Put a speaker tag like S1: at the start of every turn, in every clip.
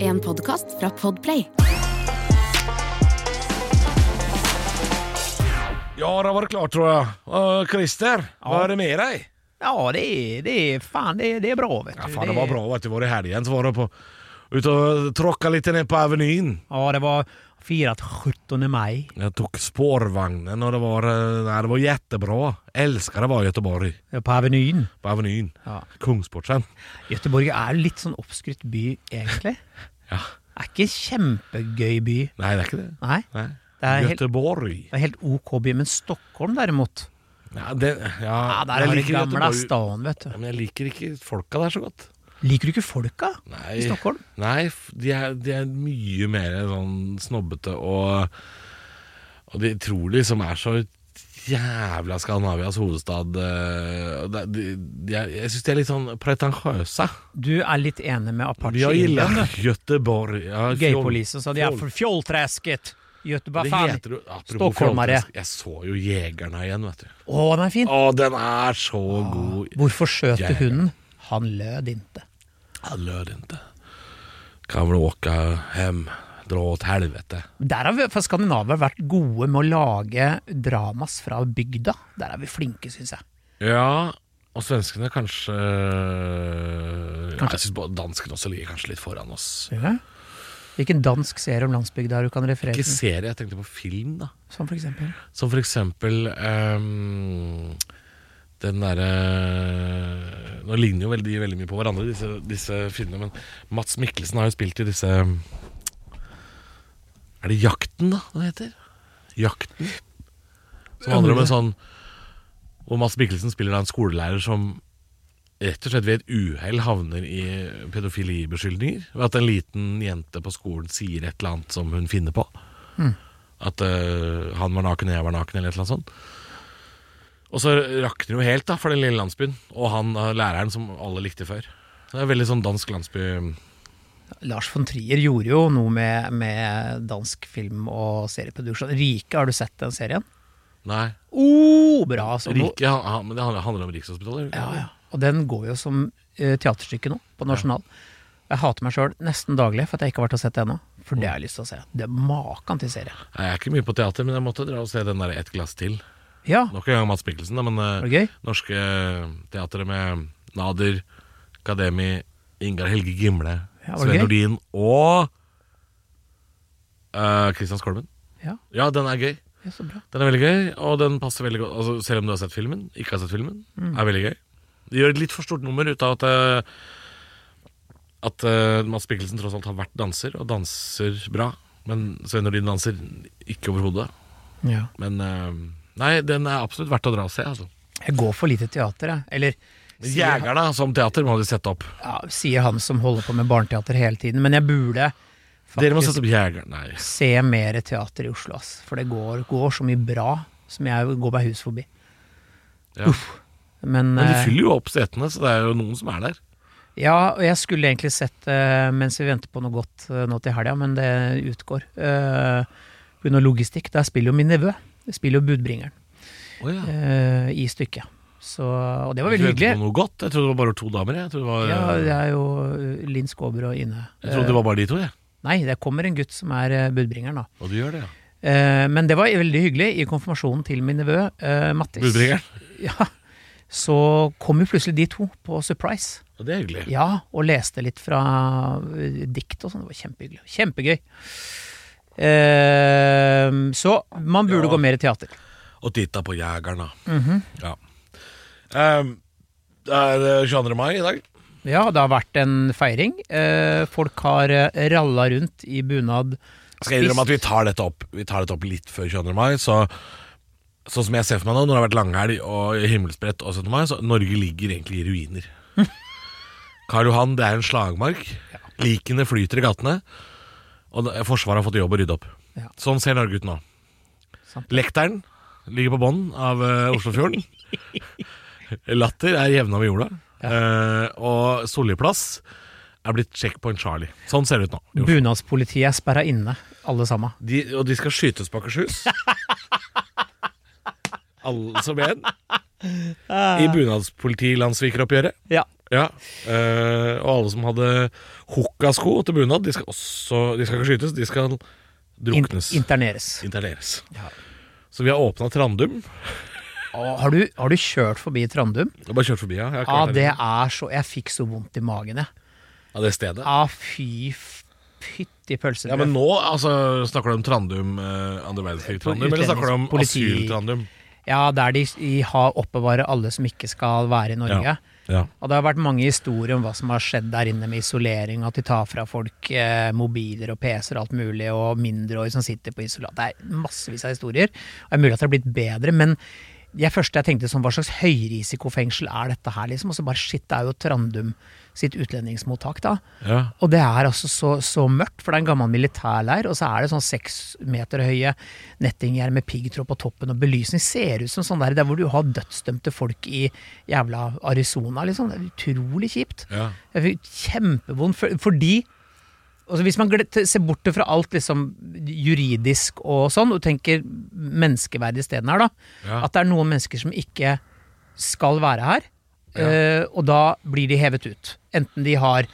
S1: en podkast fra Podplay.
S2: Ja, det var det klart, tror jag. Uh, Christer, vad är det med dig?
S3: Ja, det är, det är fan det är, det är bra vet du.
S2: Ja, fan, det var bra att du var i helgen. Så var det på, ute och tråcka lite ner på Avenyn.
S3: Ja, det var firat 17 maj.
S2: Jag tog spårvagnen och det var, eh, nej, det var jättebra. Älskar det var Göteborg,
S3: eh, På Avenyen.
S2: på Avenyn.
S3: Ja.
S2: Kungsportsen.
S3: Göteborg er jo litt sånn oppskrytt by, egentlig.
S2: Ja.
S3: Det er ikke en kjempegøy by.
S2: Nej, det är inte det.
S3: Nei.
S2: Nej.
S3: Det er helt,
S2: Göteborg.
S3: det er helt ok by, men Stockholm derimot
S2: Ja, det, ja,
S3: ja, Der er
S2: jag
S3: det
S2: liker
S3: gamla
S2: Göteborg.
S3: staden, vet
S2: Ja,
S3: du.
S2: men jag liker inte folka där så gott.
S3: Liker du ikke folka
S2: Nej.
S3: i Stockholm?
S2: Nei, f- de er, de er mye mer sånn snobbete og Og de tror de som er så jævla Skandinavias hovedstad eh, og det- de, de er, Jeg syns de er litt sånn pretensiøse.
S3: Du er litt enig med
S2: De
S3: Apache
S2: har
S3: Inland?
S2: gilda Göteborg. Ja, fjoll-
S3: Gøypolisen sa de er
S2: fjoll-
S3: for fjollträsket. Göteborg,
S2: Det
S3: faen.
S2: heter jo Apropos
S3: Stockholmare.
S2: fjolträsk, Jeg så jo Jegerna igjen, vet du.
S3: Å, den er fin.
S2: Å, den er så god.
S3: Hvorfor skjøt
S2: Jeg-
S3: du hunden? Han lød inte.
S2: Jeg lød ikke. Kan vel åka hjem. Dra åt helvete.
S3: Der har vi, for Skandinavia har vært gode med å lage dramas fra bygda. Der er vi flinke, syns jeg.
S2: Ja, og svenskene kanskje, Ja, Jeg syns danskene også ligger kanskje litt foran oss.
S3: Hvilken dansk serie om landsbygda er du kan referere
S2: Ikke
S3: til?
S2: serie, jeg tenkte på film, da.
S3: Som for eksempel.
S2: Som for eksempel ehm, den derre Nå ligner jo veldig, de veldig mye på hverandre, disse, disse filmene, men Mats Mikkelsen har jo spilt i disse Er det Jakten, da, den heter? Jakten? Som handler om en sånn Hvor Mats Mikkelsen spiller da en skolelærer som rett og slett ved et uhell havner i pedofilibeskyldninger. Ved at en liten jente på skolen sier et eller annet som hun finner på. At eh, han var naken, og jeg var naken, eller et eller annet sånt. Og så rakner det jo helt da, for den lille landsbyen, og han eh, læreren som alle likte før. Det er veldig sånn dansk landsby
S3: Lars von Trier gjorde jo noe med, med dansk film og serieproduksjon. Rike, har du sett den serien?
S2: Nei,
S3: Oh, bra! Så nå-
S2: rike, han, han, men det handler, handler om Rikshospitalet.
S3: Ja, ja. Og den går jo som eh, teaterstykke nå, på Nasjonal. Jeg hater meg sjøl nesten daglig for at jeg ikke har vært og sett det ennå. For det har jeg lyst til å se. Det er maken til serie.
S2: Nei, Jeg er ikke mye på teater, men jeg måtte dra og se den der Et glass til.
S3: Ja,
S2: Nok en gang Mads Mikkelsen, da, men eh,
S3: var det gøy?
S2: norske teatret med Nader, Kademi, Ingar Helge Gimle,
S3: Ja, var det
S2: Sven
S3: gøy?
S2: Nordin og eh, Christian Skolmen.
S3: Ja,
S2: Ja, den er gøy.
S3: ja så bra.
S2: Den er veldig gøy, og den passer veldig godt altså, Selv om du har sett filmen, ikke har sett filmen
S3: Mm.
S2: Er veldig gøy De gjør et litt for stort nummer ut av at eh, At eh, Mads Mikkelsen tross alt har vært danser Og danser bra Men Svein Nordin danser ikke overhodet
S3: Ja.
S2: Men eh, nei, den er absolutt verdt å dra og se altså.
S3: Jeg går for lite teater, jeg. Eller sier, han-
S2: Jægerne som teater må de sette opp
S3: ja, sier han som holder på med barneteater hele tiden. Men jeg burde
S2: Dere må
S3: faktisk
S2: sette opp Jægerne Nei,
S3: se mer teater i Oslo, ass. For det går, går så mye bra som jeg går meg hus forbi.
S2: ja.
S3: Men,
S2: Men de
S3: eh,
S2: fyller jo opp setene Så det er jo noen som er der
S3: Ja, og jeg skulle egentlig sett eh, mens vi venter på noe godt eh, nå til helga, men det utgår. Eh, På grunn av logistikk. Der spiller jo min nevø. Jeg spiller jo budbringeren
S2: Åja
S3: eh, i stykket. Så, og det var
S2: Jeg trodde det
S3: veldig hyggelig.
S2: var noe godt Jeg trodde det var bare to damer Jeg trodde det var,
S3: Ja, det er jo eh, Linn Skåber og Ine.
S2: jeg trodde det var bare de to jeg.
S3: Nei, det kommer en gutt som er eh, budbringeren, da.
S2: Og du gjør det ja
S3: Eh, Men det var veldig hyggelig. I konfirmasjonen til min nevø eh, Mattis
S2: Budbringeren.
S3: Ja, så kom jo plutselig de to på surprise.
S2: Og det er hyggelig
S3: Ja, og leste litt fra eh, dikt og sånn. Det var kjempehyggelig. Kjempegøy. Eh, så man burde
S2: Ja.
S3: gå mer i teater.
S2: og titta på Jægerne. ja. Ehm, det er eh, 22. mai i dag.
S3: Ja, det har vært en feiring. Eh, folk har eh, ralla rundt i bunad.
S2: Skal jeg innrømme at
S3: Spist-
S2: vi tar dette opp Vi tar dette opp litt før 22. mai. Så, sånn som jeg ser for meg nå, når det har vært langhelg og himmelsbrett og 17. mai, så Norge ligger egentlig i ruiner. Karl Johan, det er en slagmark. Likene flyter i gatene. Og da- Forsvaret har fått i jobb å rydde opp.
S3: Ja.
S2: Sånn ser Norge ut nå.
S3: Sant.
S2: Lekteren ligger på bånn av eh, Oslofjorden. Latter er jevna med jorda. Eh, og Solliplass er blitt Checkpoint Charlie. Sånn ser det ut nå. i Oslo.
S3: Bunadspolitiet er sperra inne, alle sammen.
S2: De, og de skal skytes på Akershus. Alle som en. I bunadspolitilandsvikeroppgjøret.
S3: Ja,
S2: Ja, eh, og alle som hadde hukka-sko til bunad, de skal også De skal ikke skytes, de skal
S3: In
S2: druknes.
S3: interneres.
S2: interneres.
S3: Ja.
S2: Så vi har åpna Trandum.
S3: Å, Har du, har du kjørt forbi Trandum?
S2: Jeg har bare kjørt forbi, ja. Jeg har ikke
S3: Ja,
S2: vært
S3: Ah, det
S2: der.
S3: er så Jeg fikk så vondt i magen, jeg.
S2: ja, det stedet.
S3: Ja, fy f- pytti pølse.
S2: Ja, men nå altså, snakker du om Trandum, eh, andre verdenskrig-Trandum, eller snakker du om
S3: Politi-
S2: asyl-Trandum?
S3: Ja, der de, de har oppbevarer alle som ikke skal være i Norge.
S2: Ja. Ja.
S3: Og det har vært mange historier om hva som har skjedd der inne med isolering, at de tar fra folk eh, mobiler og PC-er og alt mulig, og mindreårige som sitter på isolat. Det er massevis av historier. Og det er mulig at det har blitt bedre, men det første jeg tenkte sånn, hva slags høyrisikofengsel er dette her, liksom? Og så bare shit, det er jo Trandum sitt utlendingsmottak, da.
S2: Ja.
S3: Og det er altså så, så mørkt, for det er en gammel militærleir, og så er det sånn seks meter høye nettinggjerd med piggtråd på toppen, og belysning ser ut som sånn der, der hvor du har dødsdømte folk i jævla Arizona, liksom. Det er utrolig kjipt.
S2: Ja.
S3: Jeg fikk kjempevond føl- fordi altså Hvis man gle- ser bort fra alt liksom juridisk og sånn, og tenker menneskeverd isteden her, da.
S2: Ja.
S3: At det er noen mennesker som ikke skal være her, eh, og da blir de hevet ut. Enten de har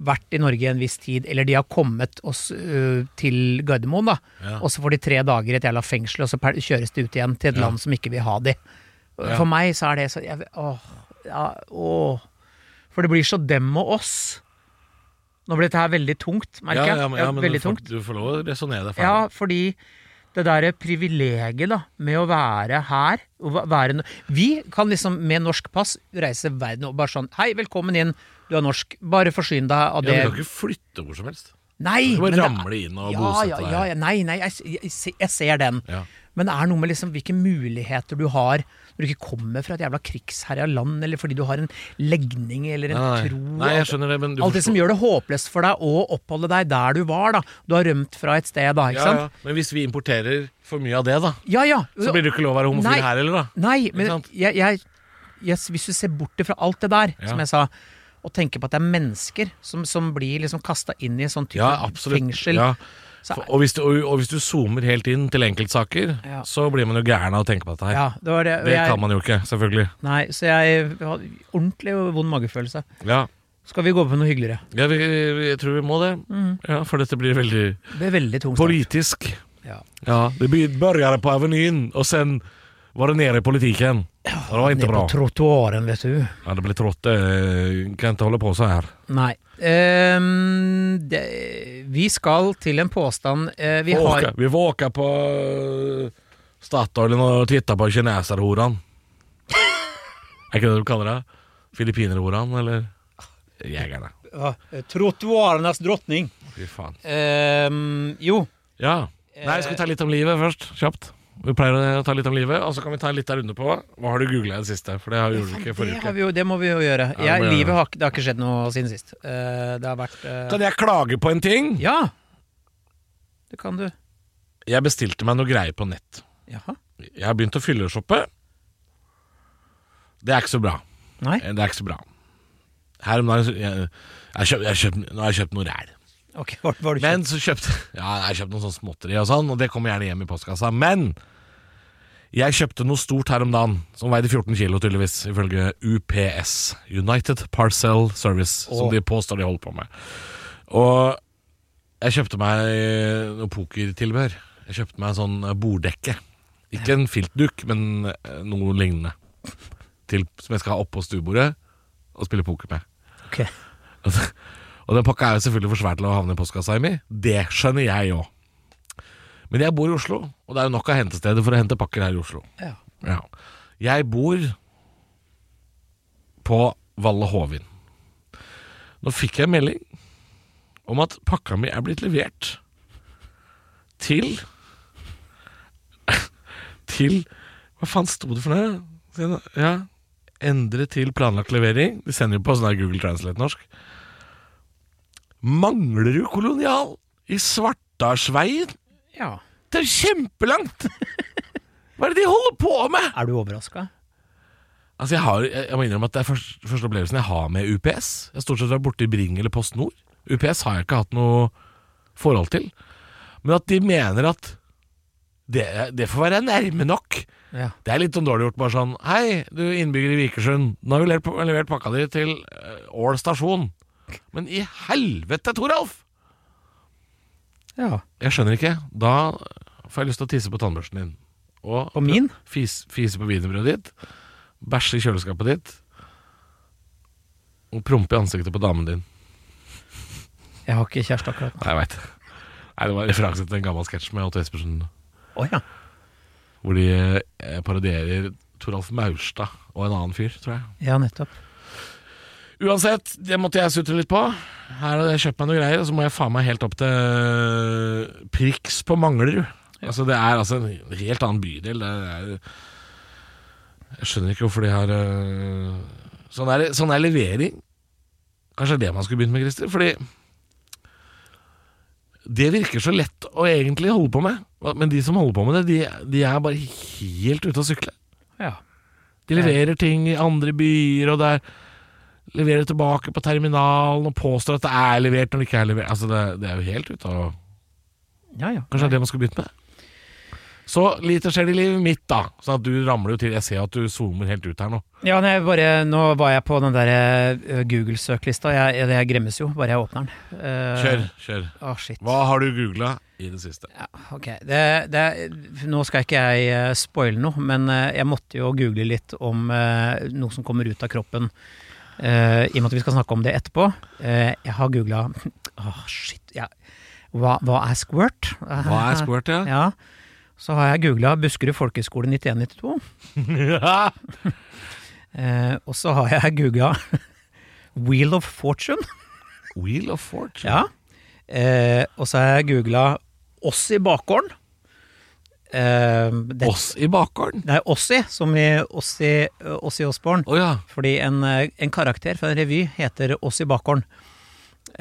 S3: vært i Norge en viss tid, eller de har kommet oss, eh, til Gardermoen, da.
S2: Ja.
S3: Og så får de tre dager i et jævla fengsel, og så per- kjøres de ut igjen til et land som ikke vil ha de.
S2: Ja.
S3: For meg så er det så jeg, Åh. Ja, åh. For det blir så dem og oss. Nå ble dette her veldig tungt, merker jeg.
S2: ja, men,
S3: Ja,
S2: ja, men
S3: veldig
S2: du, får,
S3: tungt.
S2: du får lov å resonnere deg
S3: Ja,
S2: ferdig.
S3: fordi det derre privilegiet da, med å være her å va- være, no- Vi kan liksom med norsk pass reise verden og bare sånn Hei, velkommen inn, du er norsk. Bare forsyn deg av
S2: Ja, du
S3: det
S2: kan ikke flytte hvor som helst.
S3: Nei!
S2: Du kan
S3: men det
S2: bare
S3: er-
S2: ramle inn og
S3: ja, ja,
S2: bosette
S3: ja, ja,
S2: deg.
S3: nei, nei, jeg, jeg, se- jeg ser den.
S2: Ja.
S3: Men det er noe med liksom hvilke muligheter du har når du ikke kommer fra et jævla krigsherja land, eller fordi du har en legning eller en
S2: Nei,
S3: tro.
S2: nei, jeg skjønner det, men du
S3: Alt det som gjør det håpløst for deg å oppholde deg der du var, da. Du har rømt fra et sted, da, ikke
S2: Ja, ja.
S3: sant?
S2: Men hvis vi importerer for mye av det, da,
S3: Ja, ja.
S2: så blir det ikke lov å være homofil
S3: Nei.
S2: her heller, da.
S3: Nei, men
S2: sant?
S3: jeg, jeg, yes, hvis du ser bort fra alt det der,
S2: Ja.
S3: som jeg sa, og tenker på at det er mennesker som, som blir liksom kasta inn i en sånn type
S2: Ja, absolutt.
S3: fengsel
S2: Ja.
S3: Så-
S2: For- Og, hvis du, og, og hvis du zoomer helt inn til enkeltsaker,
S3: Ja.
S2: så blir man jo gæren av å tenke på dette her.
S3: Ja, det var det. og
S2: Det
S3: jeg-
S2: kan man jo ikke, selvfølgelig.
S3: Nei, så jeg har ordentlig vond magefølelse.
S2: Ja,
S3: Skal vi gå på noe hyggeligere?
S2: ja vi, vi, jeg tror vi må det.
S3: Mm.
S2: Ja, For dette blir veldig
S3: Det ble veldig tung start.
S2: politisk.
S3: Ja.
S2: Ja, Det begynte på Avenyen, og sen var det nede i politikken. Og det var
S3: Ned
S2: ikke
S3: på
S2: bra.
S3: trottoaren, vet du.
S2: Ja, Det ble trått. eh, Kan ikke holde på sånn her.
S3: Nei. Ehm, det, vi skal til en påstand eh,
S2: Vi,
S3: Vi har
S2: åka, vi får åka på eh, Statoil og titta på kineserhoran. er ikke det du kaller det? Filippinerhoran, eller? Jegerne.
S3: Ja, Trottoarenes drottning.
S2: Fy faen.
S3: Ehm, jo.
S2: Ja. Nei, skal vi ta litt om livet først? Kjapt. Vi pleier å ta litt om livet, og så kan vi ta en liten runde på hva har du googla i det siste. For det har gjorde du ikke
S3: Det,
S2: forrige uke.
S3: har vi jo, det må vi jo
S2: Ja, det
S3: gjøre.
S2: må
S3: jeg,
S2: vi
S3: livet
S2: gjøre.
S3: har, ikke- det har ikke skjedd noe siden sist. Eh, det har vært eh,
S2: Kan jeg klage på en ting?
S3: Ja! Det kan du.
S2: Jeg bestilte meg noe greier på nett.
S3: Jaha.
S2: Jeg har begynt å fylleshoppe. Det er ikke så bra.
S3: Nei?
S2: Det er ikke så bra. Her om dagen så- jeg, jeg, kjøp, jeg kjøp, Nå har jeg kjøpt noe ræl.
S3: Ok, hva hva har du kjøpt?
S2: Men så kjøpte Ja, jeg har kjøpt noen sånne småtteri og sånn, og det kommer gjerne hjem i postkassa. Men jeg kjøpte noe stort her om dagen, som veide 14 kilo, tydeligvis, ifølge UPS. United Parcel Service, som
S3: Åh.
S2: de påstår de holder på med. Og jeg kjøpte meg noe pokertilbehør. Jeg kjøpte meg en sånn borddekke. Ikke en filtduk, men eh, noe lignende. Til, som jeg skal ha oppå stuebordet og spille poker med.
S3: Ok.
S2: Og den pakka er jo selvfølgelig for svær til å havne i postkassa mi. Det skjønner jeg òg. Men jeg bor i Oslo, og det er jo nok av hentesteder for å hente pakker her i Oslo.
S3: Ja.
S2: Ja. Jeg bor på Valle Hovin. Nå fikk jeg melding om at pakka mi er blitt levert til Til Hva faen sto det for noe? Se nå, Ja. Endre til planlagt levering. De sender jo på sånn her Google Translate norsk. Manglerud kolonial i Svartarsveien.
S3: ja.
S2: Det er kjempelangt! Hva er det de holder på med?
S3: Er du overraska?
S2: Altså jeg, har, jeg jeg må innrømme at det er første, første opplevelsen jeg har med UPS. Jeg har stort sett vært borti Bring eller Post Nord. UPS har jeg ikke hatt noe forhold til. Men at de mener at det, det får være nærme nok.
S3: Ja.
S2: Det er litt sånn dårlig gjort, bare sånn Hei, du innbygger i Vikersund. Nå har vi levert, levert pakka di til eh, Ål stasjon. Men i helvete, Toralf!
S3: ja.
S2: Jeg skjønner ikke. Da får jeg lyst til å tisse på tannbørsten din. Og
S3: På min?
S2: Fis, fise på wienerbrødet ditt. Bæsje i kjøleskapet ditt. Og prompe i ansiktet på damen din.
S3: Jeg har ikke kjæreste akkurat nå.
S2: Nei, jeg veit. Nei, det var en referanse til en gammel sketsj med Otto Espersen.
S3: Å ja.
S2: Hvor de eh, parodierer Toralf Maurstad og en annen fyr, tror jeg.
S3: Ja, nettopp.
S2: Uansett, det måtte jeg sutre litt på. Her hadde jeg kjøpt meg noe greier, og så må jeg faen meg helt opp til Priks på Manglerud. Altså, det er altså en helt annen bydel. Det er, jeg skjønner ikke hvorfor de har øh, sånn, er, sånn er levering. Kanskje det er det man skulle begynt med, Christer? Fordi det virker så lett å egentlig holde på med. Men de som holder på med det, de, de er bare helt ute å sykle.
S3: Ja.
S2: De leverer ting i andre byer, og der leverer tilbake på terminalen og påstår at det er levert når det ikke er levert. Altså, det, det er jo helt ute av
S3: Ja, ja.
S2: Kanskje det er det man skulle begynt med? Så lite skjer det i livet mitt, da. Sånn at du ramler jo til Jeg ser at du zoomer helt ut her nå.
S3: Ja, nei, bare, nå var jeg på den der eh, Google-søkelista. Jeg, jeg, jeg gremmes jo bare jeg åpner den. Eh,
S2: Kjør, kjør.
S3: Å, shit.
S2: Hva har du googla i det siste?
S3: Ja, ok. Det, det, nå skal ikke jeg eh, spoile noe, men eh, jeg måtte jo google litt om eh, noe som kommer ut av kroppen. Eh, I og med at vi skal snakke om det etterpå. Eh, jeg har googla Åh, shit. Ja. Hva, hva er squirt?
S2: Hva er squirt, ja?
S3: Ja. Så har jeg googla Buskerud folkehøgskole 9192. Eh, og så har jeg googla Wheel of Fortune.
S2: Wheel of Fortune.
S3: Ja. Eh, og så har jeg googla oss i bakgården. Eh, det,
S2: Oss i bakgården.
S3: det er Ossi, som i Ossi, eh, Ossi Osborn.
S2: Å ja.
S3: Fordi en, eh, en karakter fra en revy heter Oss i bakgården.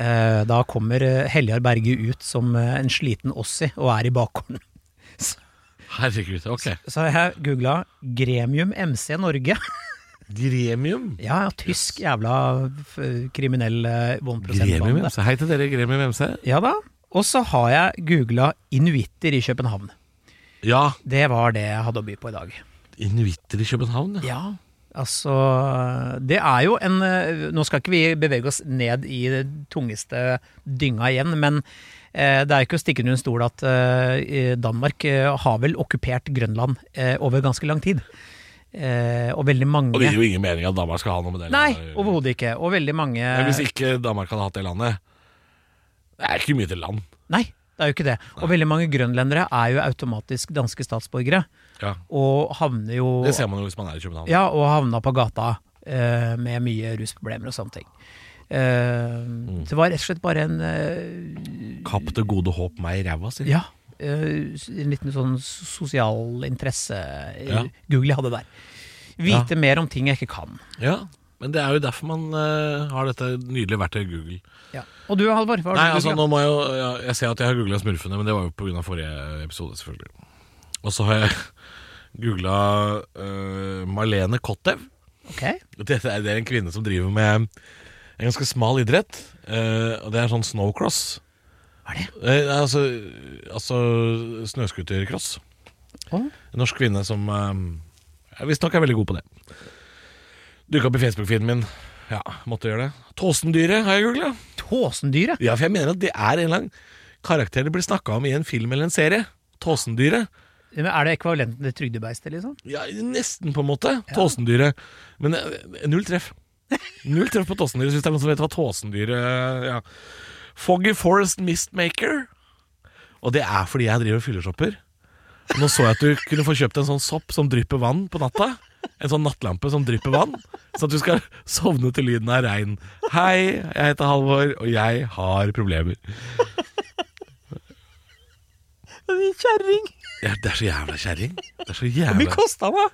S3: Eh, da kommer eh, Heljar Berge ut som eh, en sliten Ossi og er i bakgården.
S2: Herregud. Ok.
S3: Så har jeg googla Gremium MC Norge.
S2: Gremium.
S3: Ja, ja, tysk jævla f- kriminell eh, one
S2: Gremium
S3: percent-bande.
S2: MC. Hei til dere, Gremium MC.
S3: Ja da. Og så har jeg googla inuitter i København.
S2: Ja.
S3: Det var det jeg hadde å by på i dag.
S2: Inuitter i København, ja.
S3: Ja, altså Det er jo en eh, Nå skal ikke vi bevege oss ned i den tungeste dynga igjen, men eh, det er jo ikke å stikke under en stol at eh, Danmark eh, har vel okkupert Grønland eh, over ganske lang tid. Eh, og veldig mange
S2: Og det gir jo ingen mening at Danmark skal ha noe med det
S3: Nei,
S2: landet å gjøre.
S3: overhodet ikke. Og veldig mange
S2: Men Hvis ikke Danmark hadde hatt det landet Det er ikke mye til land.
S3: Nei, det er jo ikke det. Og veldig mange grønlendere er jo automatisk danske statsborgere.
S2: Ja.
S3: Og havner jo
S2: Det ser man jo hvis man er i København.
S3: Ja, og havna på gata eh, med mye rusproblemer og sånne ting. Eh,
S2: Mm.
S3: Det var rett og slett bare en eh,
S2: Kapp det gode håp meg i ræva, sier de.
S3: Ja. eh, en liten sånn sosial interesse eh,
S2: Ja.
S3: Google hadde der. Vite mer om ting jeg ikke kan.
S2: Ja. Men det er jo derfor man eh, har dette nydelige verktøyet Google.
S3: Ja. Og du, Halvor? Hva har
S2: Nei,
S3: du
S2: altså
S3: googlet?
S2: nå må Jeg jo ja, Jeg ser at jeg har googla Smurfene, men det var jo pga. forrige episode, selvfølgelig. Og så har jeg googla Marlene Kottev.
S3: Ok.
S2: Dette er, det er en kvinne som driver med en ganske smal idrett. eh, og det er sånn snowcross.
S3: Hva er det?
S2: Eh, altså altså snøscootercross.
S3: Å,
S2: En norsk kvinne som eh, visstnok er veldig god på det. Dukka opp i Facebook-feeden min. Ja, måtte gjøre det. Tåsendyret har jeg googla.
S3: Tåsendyret?
S2: Ja, for jeg mener at det er en eller annen karakter det blir snakka om i en film eller en serie. Tåsendyret.
S3: Men Er det ekvivalenten til trygdebeistet, liksom?
S2: Ja, nesten, på en måte. Tåsendyret. Men eh, null treff. Null treff på tåsendyret, hvis det er noen som vet hva tåsendyret eh, ja. Foggy Forest Mistmaker. Og det er fordi jeg driver og fylleshopper. Nå så jeg at du kunne få kjøpt en sånn sopp som drypper vann på natta. En sånn nattlampe som drypper vann, sånn at du skal sovne til lyden av regn. Hei, jeg heter Halvor, og jeg har problemer.
S3: Din kjerring!
S2: Ja, det er så jævla kjerring. Det er så
S3: Hvor mye
S2: jævla
S3: kosta den?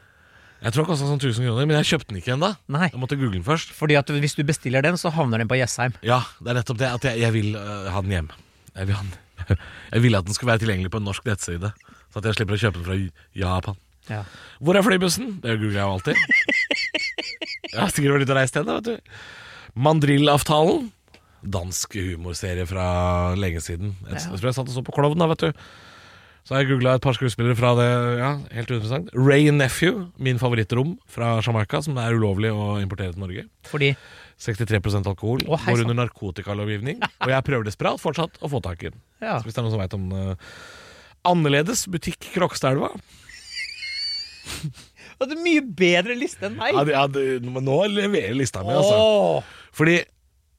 S2: Jeg tror det kosta sånn 1000 kroner, men jeg kjøpte den ikke ennå.
S3: Nei.
S2: Jeg måtte google den først.
S3: Fordi at hvis du bestiller den, så havner den på Jessheim.
S2: Ja, det er nettopp det at jeg, jeg vil øh, ha den hjem. Jeg vil, ha den. jeg vil at den skulle være tilgjengelig på en norsk nettside, så at jeg slipper å kjøpe den fra J- Japan.
S3: Ja.
S2: Hvor er flybussen? Det googler jeg jo alltid. Jeg har sikkert vært ute og reist igjen, da, vet du. Mandrillavtalen. Dansk humorserie fra lenge siden. Jeg, jeg tror jeg satt og så på Klovn, da, vet du. Så har jeg googla et par skuespillere fra det. ja, helt uinteressant Ray Nephew, min favorittrom fra Jamaica, som er ulovlig å importere til Norge.
S3: Fordi
S2: 63 alkohol.
S3: Å, hei
S2: går
S3: sann.
S2: under narkotikalovgivning. Og jeg prøver desperat fortsatt å få tak i den.
S3: Ja.
S2: Så hvis det er noen som veit om eh, Annerledes butikk Krokstadelva.
S3: Du hadde mye bedre liste enn meg!
S2: Ja, det- ja, det- men nå leverer lista mi, altså.
S3: Åh!
S2: Fordi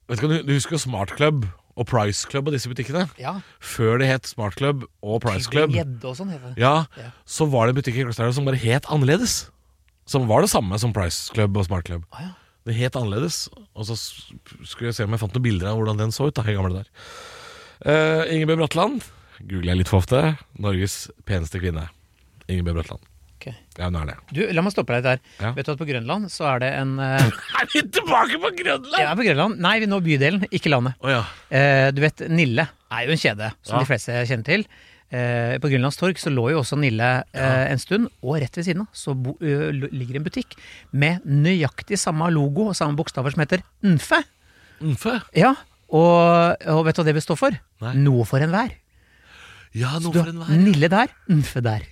S2: vet du, hva, du- du husker jo Smart Club og Price Club og disse butikkene?
S3: Ja.
S2: Før det het Smart Club og Price Club,
S3: Gjedde og sånn heter det.
S2: ja,
S3: Ja.
S2: så var det en butikk i Krokstadelva som bare het annerledes. Som var det samme som Price Club og Smart Club.
S3: Å, ja.
S2: Det het annerledes. Og så s- skulle jeg se om jeg fant noen bilder av hvordan den så ut. da, i gamle der. Uh, Ingebjørg Bratland googler jeg litt for ofte. Norges peneste kvinne. Ingebjørg Bratland.
S3: Ok.
S2: Ja, hun er det.
S3: Du, la meg stoppe deg der.
S2: Ja.
S3: Vet du at på Grønland så er det en eh,
S2: Er vi tilbake på Grønland?!
S3: Ja, på Grønland. Nei, vi nå bydelen, ikke landet.
S2: Å ja.
S3: Eh, du vet, Nille er jo en kjede, som
S2: Ja.
S3: de fleste kjenner til. Eh, på Grønlands torg så lå jo også Nille eh, en stund, og rett ved siden av så bo, ø, l- ligger en butikk med nøyaktig samme logo og samme bokstaver som heter Nfe.
S2: Nfe.
S3: Ja, og, og vet du hva det består for?
S2: Nei.
S3: Noe for enhver.
S2: Ja, noe
S3: Du
S2: for
S3: har
S2: enhver.
S3: Nille der, Nfe der.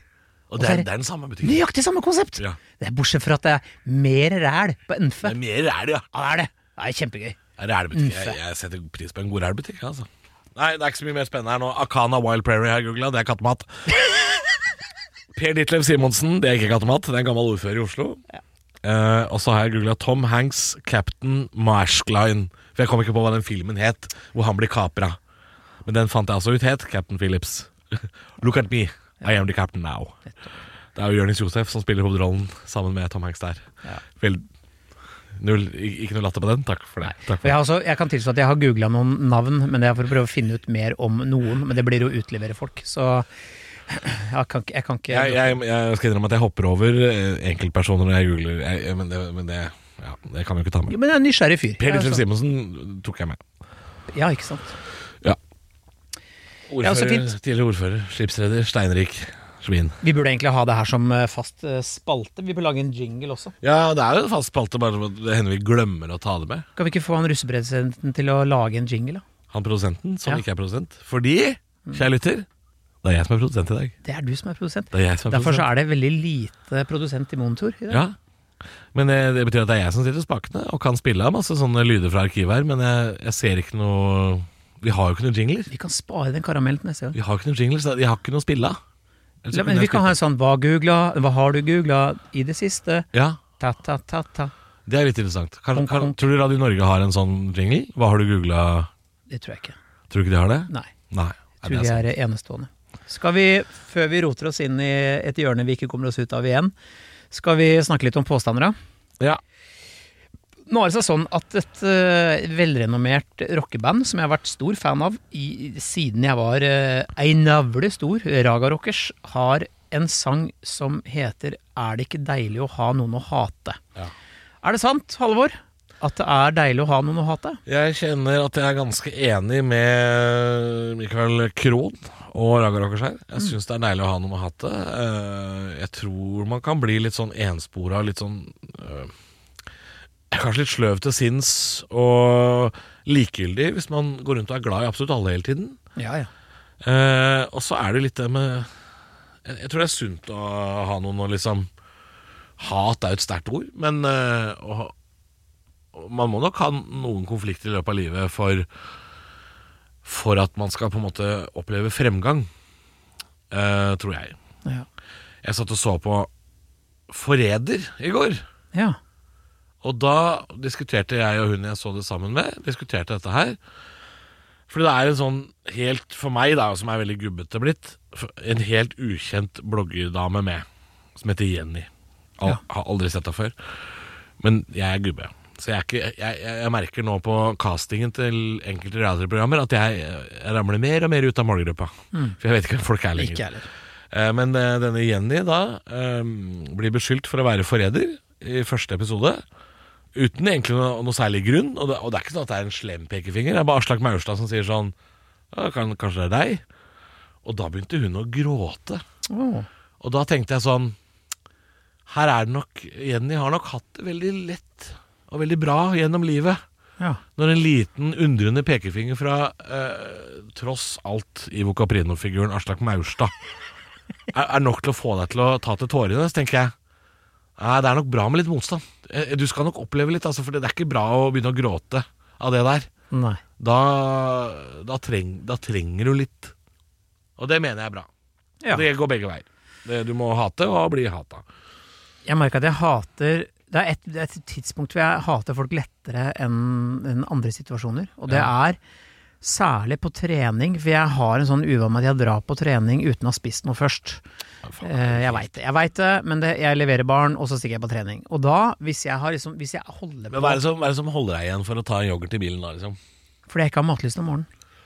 S2: Og det er, det er den samme butikken.
S3: Nøyaktig samme konsept!
S2: Ja.
S3: Det er Bortsett fra at det er mer ræl på Nfe.
S2: Det er mer ræl, ja.
S3: Ja, det er det. Det er kjempegøy.
S2: Er det ælbutikk? Jeg, jeg setter pris på en god ælbutikk. Altså. Nei, det er ikke så mye mer spennende her nå. Akana Wild Prairie har jeg googla, det er kattemat. per Ditlev Simonsen, det er ikke kattemat, det er en gammel ordfører i Oslo. Eh, og så har jeg googla Tom Hanks, Captain Marshline. For jeg kom ikke på hva den filmen het, hvor han blir kapra. Men den fant jeg altså ut het Captain Phillips. Look at me, I am the captain now. Det er jo Jonis Josef som spiller hovedrollen sammen med Tom Hanks der.
S3: Ja.
S2: Vel, null, ik- ikke noe latter på den. Takk for det. Takk for
S3: Og jeg, har også, jeg kan tilstå at jeg har googla noen navn, men det er for å prøve å finne ut mer om noen. Men det blir jo å utlevere folk, så jeg kan, ikke- jeg kan ikke
S2: jeg, jeg, jeg skal innrømme at jeg hopper over eh, enkeltpersoner når jeg googler, jeg, jeg- men, det, men det, ja, det kan vi jo ikke ta
S3: Jo,
S2: med.
S3: Men jeg er en nysgjerrig fyr.
S2: Per
S3: Jeg er
S2: Ditlev
S3: sånn-
S2: Simonsen tok jeg med.
S3: Ja, ikke sant.
S2: Ja.
S3: Ja, så
S2: Ordfører,
S3: fint.
S2: tidligere ordfører, skipsreder, steinrik, svin.
S3: Vi burde egentlig ha det her som eh, fast eh, spalte. Vi burde lage en jingle også.
S2: Ja, det er jo en fast spalte, bare at det hender vi glemmer å ta det med.
S3: Kan vi ikke få han russepresidenten til å lage en jingle? da?
S2: Han produsenten, som
S3: Ja.
S2: ikke er produsent. Fordi, kjære lytter, det er jeg som er produsent i dag.
S3: Det er du som er produsent.
S2: Det er jeg som er
S3: Derfor så
S2: produsent.
S3: er det veldig lite produsent i Monitor i dag.
S2: Ja. Men eh, det betyr at det er jeg som sitter i spakene og kan spille av masse sånne lyder fra arkivet her, men jeg, jeg ser ikke noe Vi har jo ikke noen jingler.
S3: Vi kan spare den karamellen til neste gang.
S2: Vi har ikke noen jingles, jeg har ikke noe å spille av. Ellers
S3: La,
S2: kunne
S3: men
S2: jeg
S3: vi kan
S2: spilt
S3: ha en sånn 'hva googla', 'hva har du googla' i det siste?
S2: det. Ja,
S3: Ta-ta-ta-ta.
S2: det er litt interessant. Kan,
S3: Hong
S2: kan,
S3: Kong.
S2: tror du Radio Norge har en sånn jingle? Hva har du googla?
S3: Det tror jeg ikke.
S2: Tror du ikke de har det?
S3: Nei.
S2: Nei. Nei,
S3: Tror
S2: det
S3: vi
S2: er sant.
S3: er enestående. Skal vi, før vi roter oss inn i et hjørne vi ikke kommer oss ut av igjen, skal vi snakke litt om påstander, da?
S2: Ja.
S3: Nå er det seg sånn at et eh, velrenommert rockeband som jeg har vært stor fan av i, siden jeg var uh, ei navle stor, Raga Rockers, har en sang som heter 'Er det ikke deilig å ha noen å hate'?
S2: Ja.
S3: Er det sant, Halvor? At det er deilig å ha noen å hate?
S2: Jeg kjenner at jeg er ganske enig med Michael Krohn og Raga Rockerskjær. Jeg
S3: Mm.
S2: syns det er deilig å ha noen å hate. Eh, Jeg tror man kan bli litt sånn enspora, litt sånn eh, Kanskje litt sløv til sinns og likegyldig hvis man går rundt og er glad i absolutt alle hele tiden.
S3: Ja, ja.
S2: Eh, og så er det litt det med jeg, jeg tror det er sunt å ha noen å liksom Hat er jo et sterkt ord, men eh, å ha- og man må nok ha noen konflikter i løpet av livet for For at man skal på en måte oppleve fremgang, eh, tror jeg.
S3: Ja.
S2: Jeg satt og så på Forræder i går.
S3: ja.
S2: Og da diskuterte jeg og hun jeg så det sammen med, diskuterte dette her. For det er en sånn helt, for meg da, som er veldig gubbete blitt, en helt ukjent bloggerdame med, som heter Jenny. Al Har aldri sett henne før. Men jeg er gubbe. Så jeg, er ikke, jeg, jeg, jeg merker nå på castingen til enkelte radioprogrammer at jeg, jeg ramler mer og mer ut av målgruppa. For jeg vet ikke hvem folk er lenger.
S3: Ikke heller.
S2: Eh, Men eh, denne Jenny da eh, blir beskyldt for å være forræder i første episode. Uten egentlig noe, noe særlig grunn. Og det, og det er ikke sånn at det er en slem pekefinger. Det er bare Aslak Maurstad som sier sånn ja, kan, Kanskje det er deg? Og da begynte hun å gråte.
S3: Åh.
S2: Og da tenkte jeg sånn Her er det nok Jenny har nok hatt det veldig lett og veldig bra gjennom livet.
S3: ja.
S2: Når en liten undrende pekefinger fra eh, tross alt Ivo Caprino-figuren Aslak Maurstad er, er nok til å få deg til å ta til tårene, så tenker jeg Nei, det er nok bra med litt motstand. Eh, Du skal nok oppleve litt, altså, for det er ikke bra å begynne å gråte av det der.
S3: Nei.
S2: Da, da, treng, da trenger du litt. Og det mener jeg er bra.
S3: Ja.
S2: Det går begge veier. Det, du må hate og bli hata.
S3: Jeg merker at jeg hater det er, et, det er et tidspunkt hvor jeg hater folk lettere enn enn andre situasjoner. Og det er særlig på trening, for jeg har en sånn uvane med at jeg drar på trening uten å ha spist noe først. Eh, Jeg veit det, jeg vet det, men det, jeg leverer barn, og så stikker jeg på trening. Og da, hvis jeg, har liksom, hvis jeg holder
S2: Men
S3: på
S2: hva er, det som, hva er det som holder deg igjen for å ta en yoghurt i bilen da, liksom?
S3: Fordi jeg ikke har matlyst om morgenen.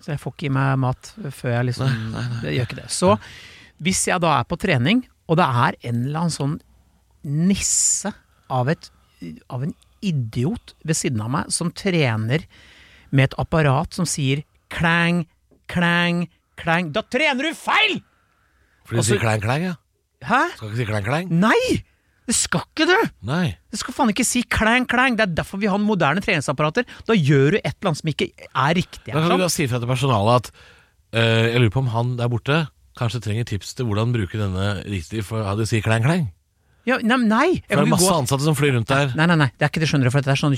S3: Så jeg får ikke i meg mat før jeg liksom Jeg gjør ikke det. Så hvis jeg da er på trening, og det er en eller annen sånn nisse av, et, av en idiot ved siden av meg som trener med et apparat som sier klang, klang, klang Da trener du feil!
S2: Fordi du
S3: Altså-
S2: sier klein, klein, ja?
S3: Hæ?
S2: Skal ikke si klein, klein?
S3: Nei! Det skal ikke du!
S2: Nei.
S3: Du skal faen ikke si klang, klang. Det er derfor vi har moderne treningsapparater. Da gjør du et eller annet som ikke er riktig.
S2: Da
S3: er det
S2: kan
S3: sant?
S2: du da si fra til personalet at eh, jeg lurer på om han der borte kanskje trenger tips til hvordan bruke denne riktig for at du sier klein, klein.
S3: Ja, nei, nei. jeg
S2: For det
S3: vil
S2: er
S3: gå-
S2: masse ansatte som flyr rundt der.
S3: Nei, nei, nei, det er ikke det, skjønner du, for det er sånn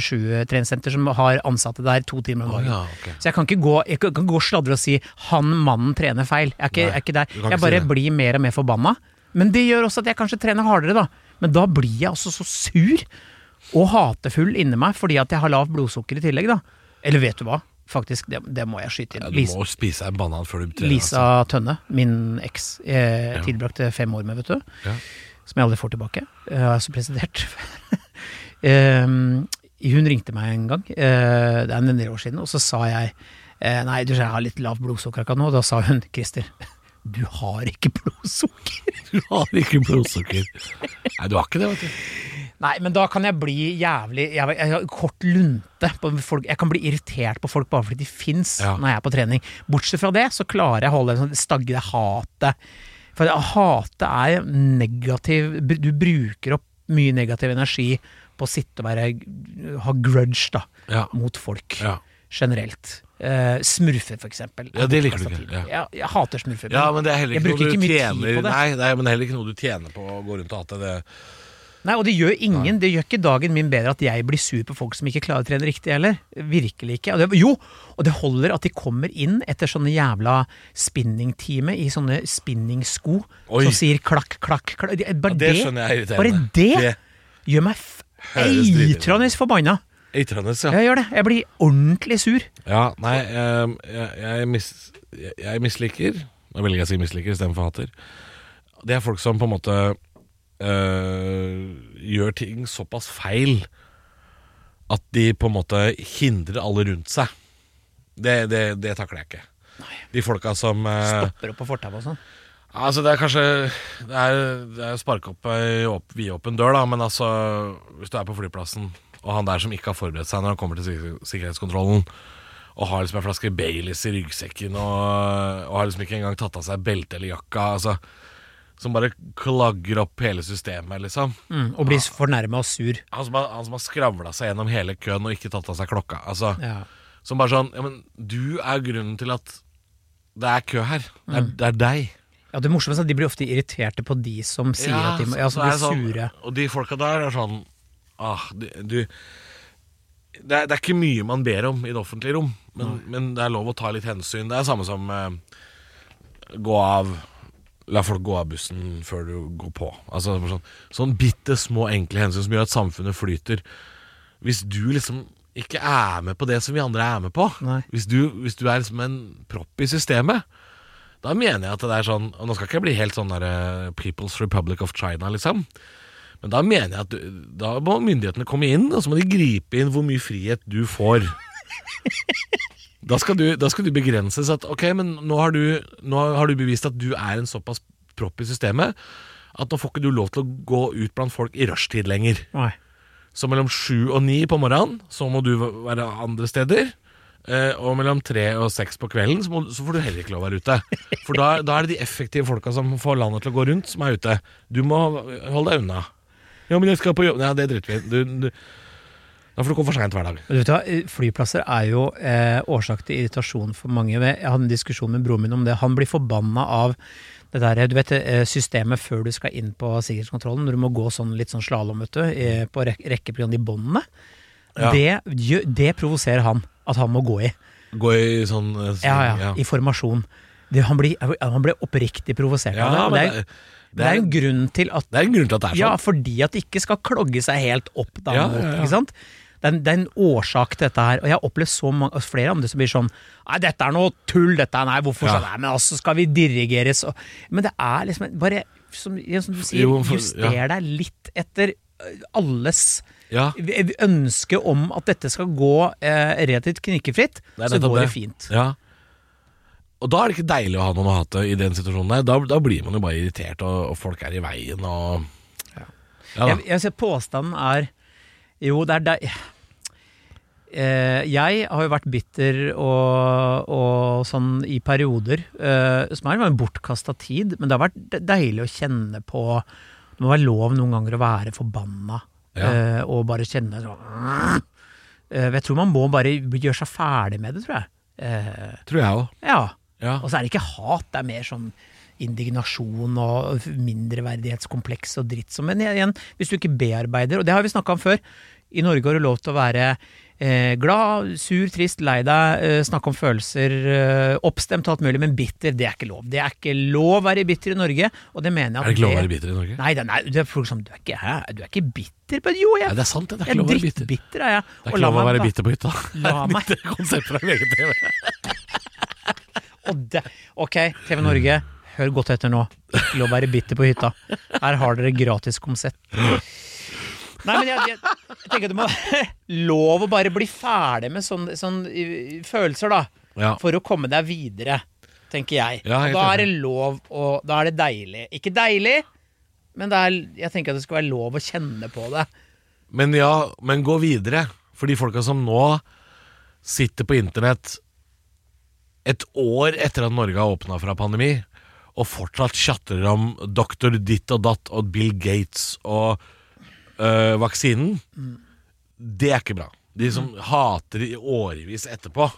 S3: 24-7-treningssenter som har ansatte der to timer om
S2: Å
S3: dagen.
S2: ja, ok.
S3: Så jeg kan ikke gå, jeg kan kan gå og sladre og si 'han mannen trener feil'. Jeg er ikke,
S2: Nei,
S3: jeg er ikke der.
S2: du kan ikke
S3: Jeg
S2: si
S3: bare
S2: det.
S3: blir mer og mer forbanna. Men det gjør også at jeg kanskje trener hardere, da. Men da blir jeg også så sur og hatefull inni meg fordi at jeg har lavt blodsukker i tillegg, da. Eller vet du hva, faktisk, det, det må jeg skyte inn.
S2: Ja, du
S3: Lisa,
S2: må spise en banan før du trener. altså.
S3: Lisa Tønne, min eks, eh, tilbrakte fem år med, vet du
S2: Ja.
S3: som jeg aldri får tilbake. Jeg har altså presidert. Ehm, hun ringte meg en gang, eh, det er en del år siden, og så sa jeg eh, Nei, du, jeg har litt lavt blodsukker akkurat nå. Da sa hun Christer, du har ikke blodsukker.
S2: Du har ikke blodsukker. Nei, du har ikke det, vet du.
S3: Nei, men da kan jeg bli jævlig jeg, jeg, har Kort lunte. På folk, jeg kan bli irritert på folk bare fordi de fins
S2: Ja.
S3: når jeg er på trening. Bortsett fra det, så klarer jeg å holde en sånn stagge det hatet. For hatet er negativ Du bruker opp mye negativ energi på å sitte og være ha grudge da
S2: Ja.
S3: mot folk
S2: Ja.
S3: generelt. Eh, smurfer, for eksempel.
S2: Ja, det liker du
S3: Jeg-
S2: ikke, ja.
S3: Jeg, jeg hater smurfer.
S2: ja, men det er heller
S3: jeg
S2: ikke
S3: bruker
S2: noe du
S3: ikke mye tid
S2: tjener
S3: på det.
S2: Nei, nei, men det er heller ikke noe du tjener på å gå rundt og hate det.
S3: Nei, og det gjør ingen. Det gjør ikke dagen min bedre at jeg blir sur på folk som ikke klarer å trene riktig heller. Virkelig ikke. Og det, jo, og det holder at de kommer inn etter sånne jævla spinningtime i sånne spinningsko
S2: Oi.
S3: som sier klakk, klakk, klakk. Det- Bare
S2: Ja,
S3: det,
S2: det skjønner jeg er irriterende.
S3: bare det,
S2: Det
S3: gjør meg f-
S2: høres dritirriterende.
S3: eitrende forbanna.
S2: Eitrende, ja.
S3: Jeg gjør det. Jeg blir ordentlig sur.
S2: Ja, nei, ehm, jeg, jeg, mis, jeg, jeg misliker Nå velger jeg å si misliker istedenfor hater. Det er folk som på en måte øh, gjør ting såpass feil at de på en måte hindrer alle rundt seg. Det, det, det takler jeg ikke. De folka som øh,
S3: Stopper opp på fortauet og sånn.
S2: Altså det er kanskje Det er, det er å sparke opp ei åp- vidåpen dør, da, men altså Hvis du er på flyplassen, og han der som ikke har forberedt seg når han kommer til sik sikkerhetskontrollen, og har liksom en flaske Baileys i ryggsekken og, og har liksom ikke engang tatt av seg belte eller jakka altså, Som bare klagger opp hele systemet, liksom.
S3: Mm, og blir fornærma og sur.
S2: Han som har, han som har skravla seg gjennom hele køen og ikke tatt av seg klokka. Altså,
S3: Ja.
S2: Som bare sånn Ja, men du er grunnen til at det er kø her. Det er, det er deg.
S3: Ja, det morsomme er at de blir ofte irriterte på de som sier at de må Ja,
S2: så-
S3: som
S2: så
S3: blir
S2: er det sånn-
S3: sure.
S2: Og de folka der er sånn ah, du, du, det, er, det er ikke mye man ber om i det offentlige rom, men, men det er lov å ta litt hensyn. Det er samme som eh, gå av La folk gå av bussen før du går på. Altså bare sånn, sånn bitte små, enkle hensyn som gjør at samfunnet flyter. Hvis du liksom ikke er med på det som vi andre er med på,
S3: Nei.
S2: hvis du, hvis du er liksom en propp i systemet, da mener jeg at det er sånn Og nå skal ikke jeg bli helt sånn der eh, People's Republic of China, liksom. Men da mener jeg at du, da må myndighetene komme inn, og så må de gripe inn hvor mye frihet du får. Da skal du, da skal du begrenses at ok, men nå har, du, nå har du bevist at du er en såpass propp i systemet at nå får ikke du lov til å gå ut blant folk i rushtid lenger.
S3: Nei.
S2: Så mellom sju og ni på morgenen så må du være andre steder. eh, Og mellom tre og seks på kvelden så, må, så får du heller ikke lov å være ute. For da, da er det de effektive folka som får landet til å gå rundt, som er ute. Du må holde deg unna. Ja, men jeg skal på jobb Ja, det driter vi i. Du, du, Da får du komme for seint hver dag.
S3: Men Vet du hva, Flyplasser er jo eh, årsak til irritasjon for mange. Jeg hadde en diskusjon med broren min om det. Han blir forbanna av det der, du vet, eh, systemet før du skal inn på sikkerhetskontrollen, når du må gå sånn litt sånn slalåm på rek rekkeprogrammet i båndene.
S2: Ja.
S3: Det, gjør- det provoserer han at han må gå i.
S2: Gå i sånn eh, sånn-
S3: Ja, ja, I formasjon. Det, han, blir, han blir oppriktig provosert
S2: Ja,
S3: av
S2: men det,
S3: det. Og Det
S2: er-
S3: er, det er en grunn til at
S2: det er en grunn til at det er sånn.
S3: Ja, fordi at det ikke skal klogge seg helt opp da.
S2: Ja,
S3: mot,
S2: ja, ja.
S3: Ikke sant? Det er, en, det er en årsak til dette her. Og jeg har opplevd så mange, altså flere andre som blir sånn Nei, dette er noe tull, dette er Nei, hvorfor
S2: Ja.
S3: sånn? Nei, men altså, skal vi dirigeres? Og, men det er liksom bare som, ja, som du sier,
S2: Jo, for-
S3: juster
S2: ja.
S3: deg litt etter ø, alles
S2: Ja.
S3: v- ønske om at dette skal gå eh, relativt knikkefritt,
S2: Det er
S3: så
S2: nettopp
S3: går det
S2: det.
S3: fint.
S2: Ja. Og da er det ikke deilig å ha noen å hate i den situasjonen der. Da, da blir man jo bare irritert, og, og folk er i veien og Ja, da.
S3: Jeg, jeg ser påstanden er Jo, det er deg eh, Jeg har jo vært bitter og, og sånn i perioder, eh, som er en bortkasta tid, men det har vært de- deilig å kjenne på Det må være lov noen ganger å være forbanna
S2: Ja.
S3: eh, og bare kjenne sånn eh, Jeg tror man må bare gjøre seg ferdig med det, tror jeg. Eh,
S2: Tror jeg òg.
S3: ja.
S2: Ja.
S3: Og så er det ikke hat, det er mer sånn indignasjon og mindreverdighetskompleks og dritt. som- Men igjen, hvis du ikke bearbeider, og det har vi snakka om før, i Norge har du lov til å være eh, glad, sur, trist, lei deg, eh, snakke om følelser, eh, oppstemt og alt mulig, men bitter, det er ikke lov. Det er ikke lov å være bitter i Norge, og det mener jeg at
S2: Er det ikke lov å være bitter i Norge?
S3: Nei, det, nei det er folk som du er ikke, hæ? du er ikke bitter, men jo, jeg,
S2: Nei, det er sant, det. Det er
S3: jeg
S2: ikke
S3: er
S2: lov å være bitter.
S3: drittbitter, er jeg.
S2: Det er
S3: Og
S2: ikke
S3: la
S2: lov å
S3: meg
S2: være
S3: da-
S2: bitter på hytta.
S3: La meg-
S2: Det er et konsept fra VGTV.
S3: Og det, ok, TV Norge, hør godt etter nå. Ikke lov å være bitter på hytta. Her har dere gratis konsert. Nei, men jeg, jeg, jeg tenker at det må være lov å bare bli ferdig med sånne sånn, i- i følelser, da.
S2: Ja.
S3: For å komme deg videre, tenker jeg.
S2: Ja,
S3: Og
S2: helt
S3: da er
S2: enig.
S3: det lov å Da er det deilig. Ikke deilig, men det er, jeg tenker at det skal være lov å kjenne på det.
S2: Men ja, men gå videre. For de folka som nå sitter på internett et år etter at Norge har åpna fra pandemi, og fortsatt tjatrer om doktor ditt og datt og Bill Gates og øh, vaksinen, det er ikke bra. De som hater i årevis etterpå.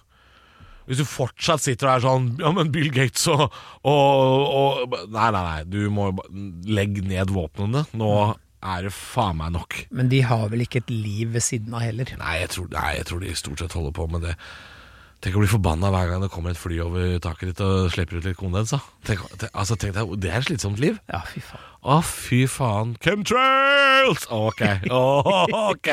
S2: Hvis du fortsatt sitter og er sånn Ja, men Bill Gates og, og, og Nei, nei, nei. Du må ba- legge ned våpnene. Nå er det faen meg nok.
S3: Men de har vel ikke et liv ved siden av heller.
S2: Nei jeg, tror, nei, jeg tror de stort sett holder på med det. Tenk å bli forbanna hver gang det kommer et fly over taket ditt og slipper ut litt kondens. da. Tenk, te- altså, tenk deg, Det er et slitsomt liv.
S3: Ja, fy faen.
S2: Å, fy faen. Chemtrails! Ok. ok.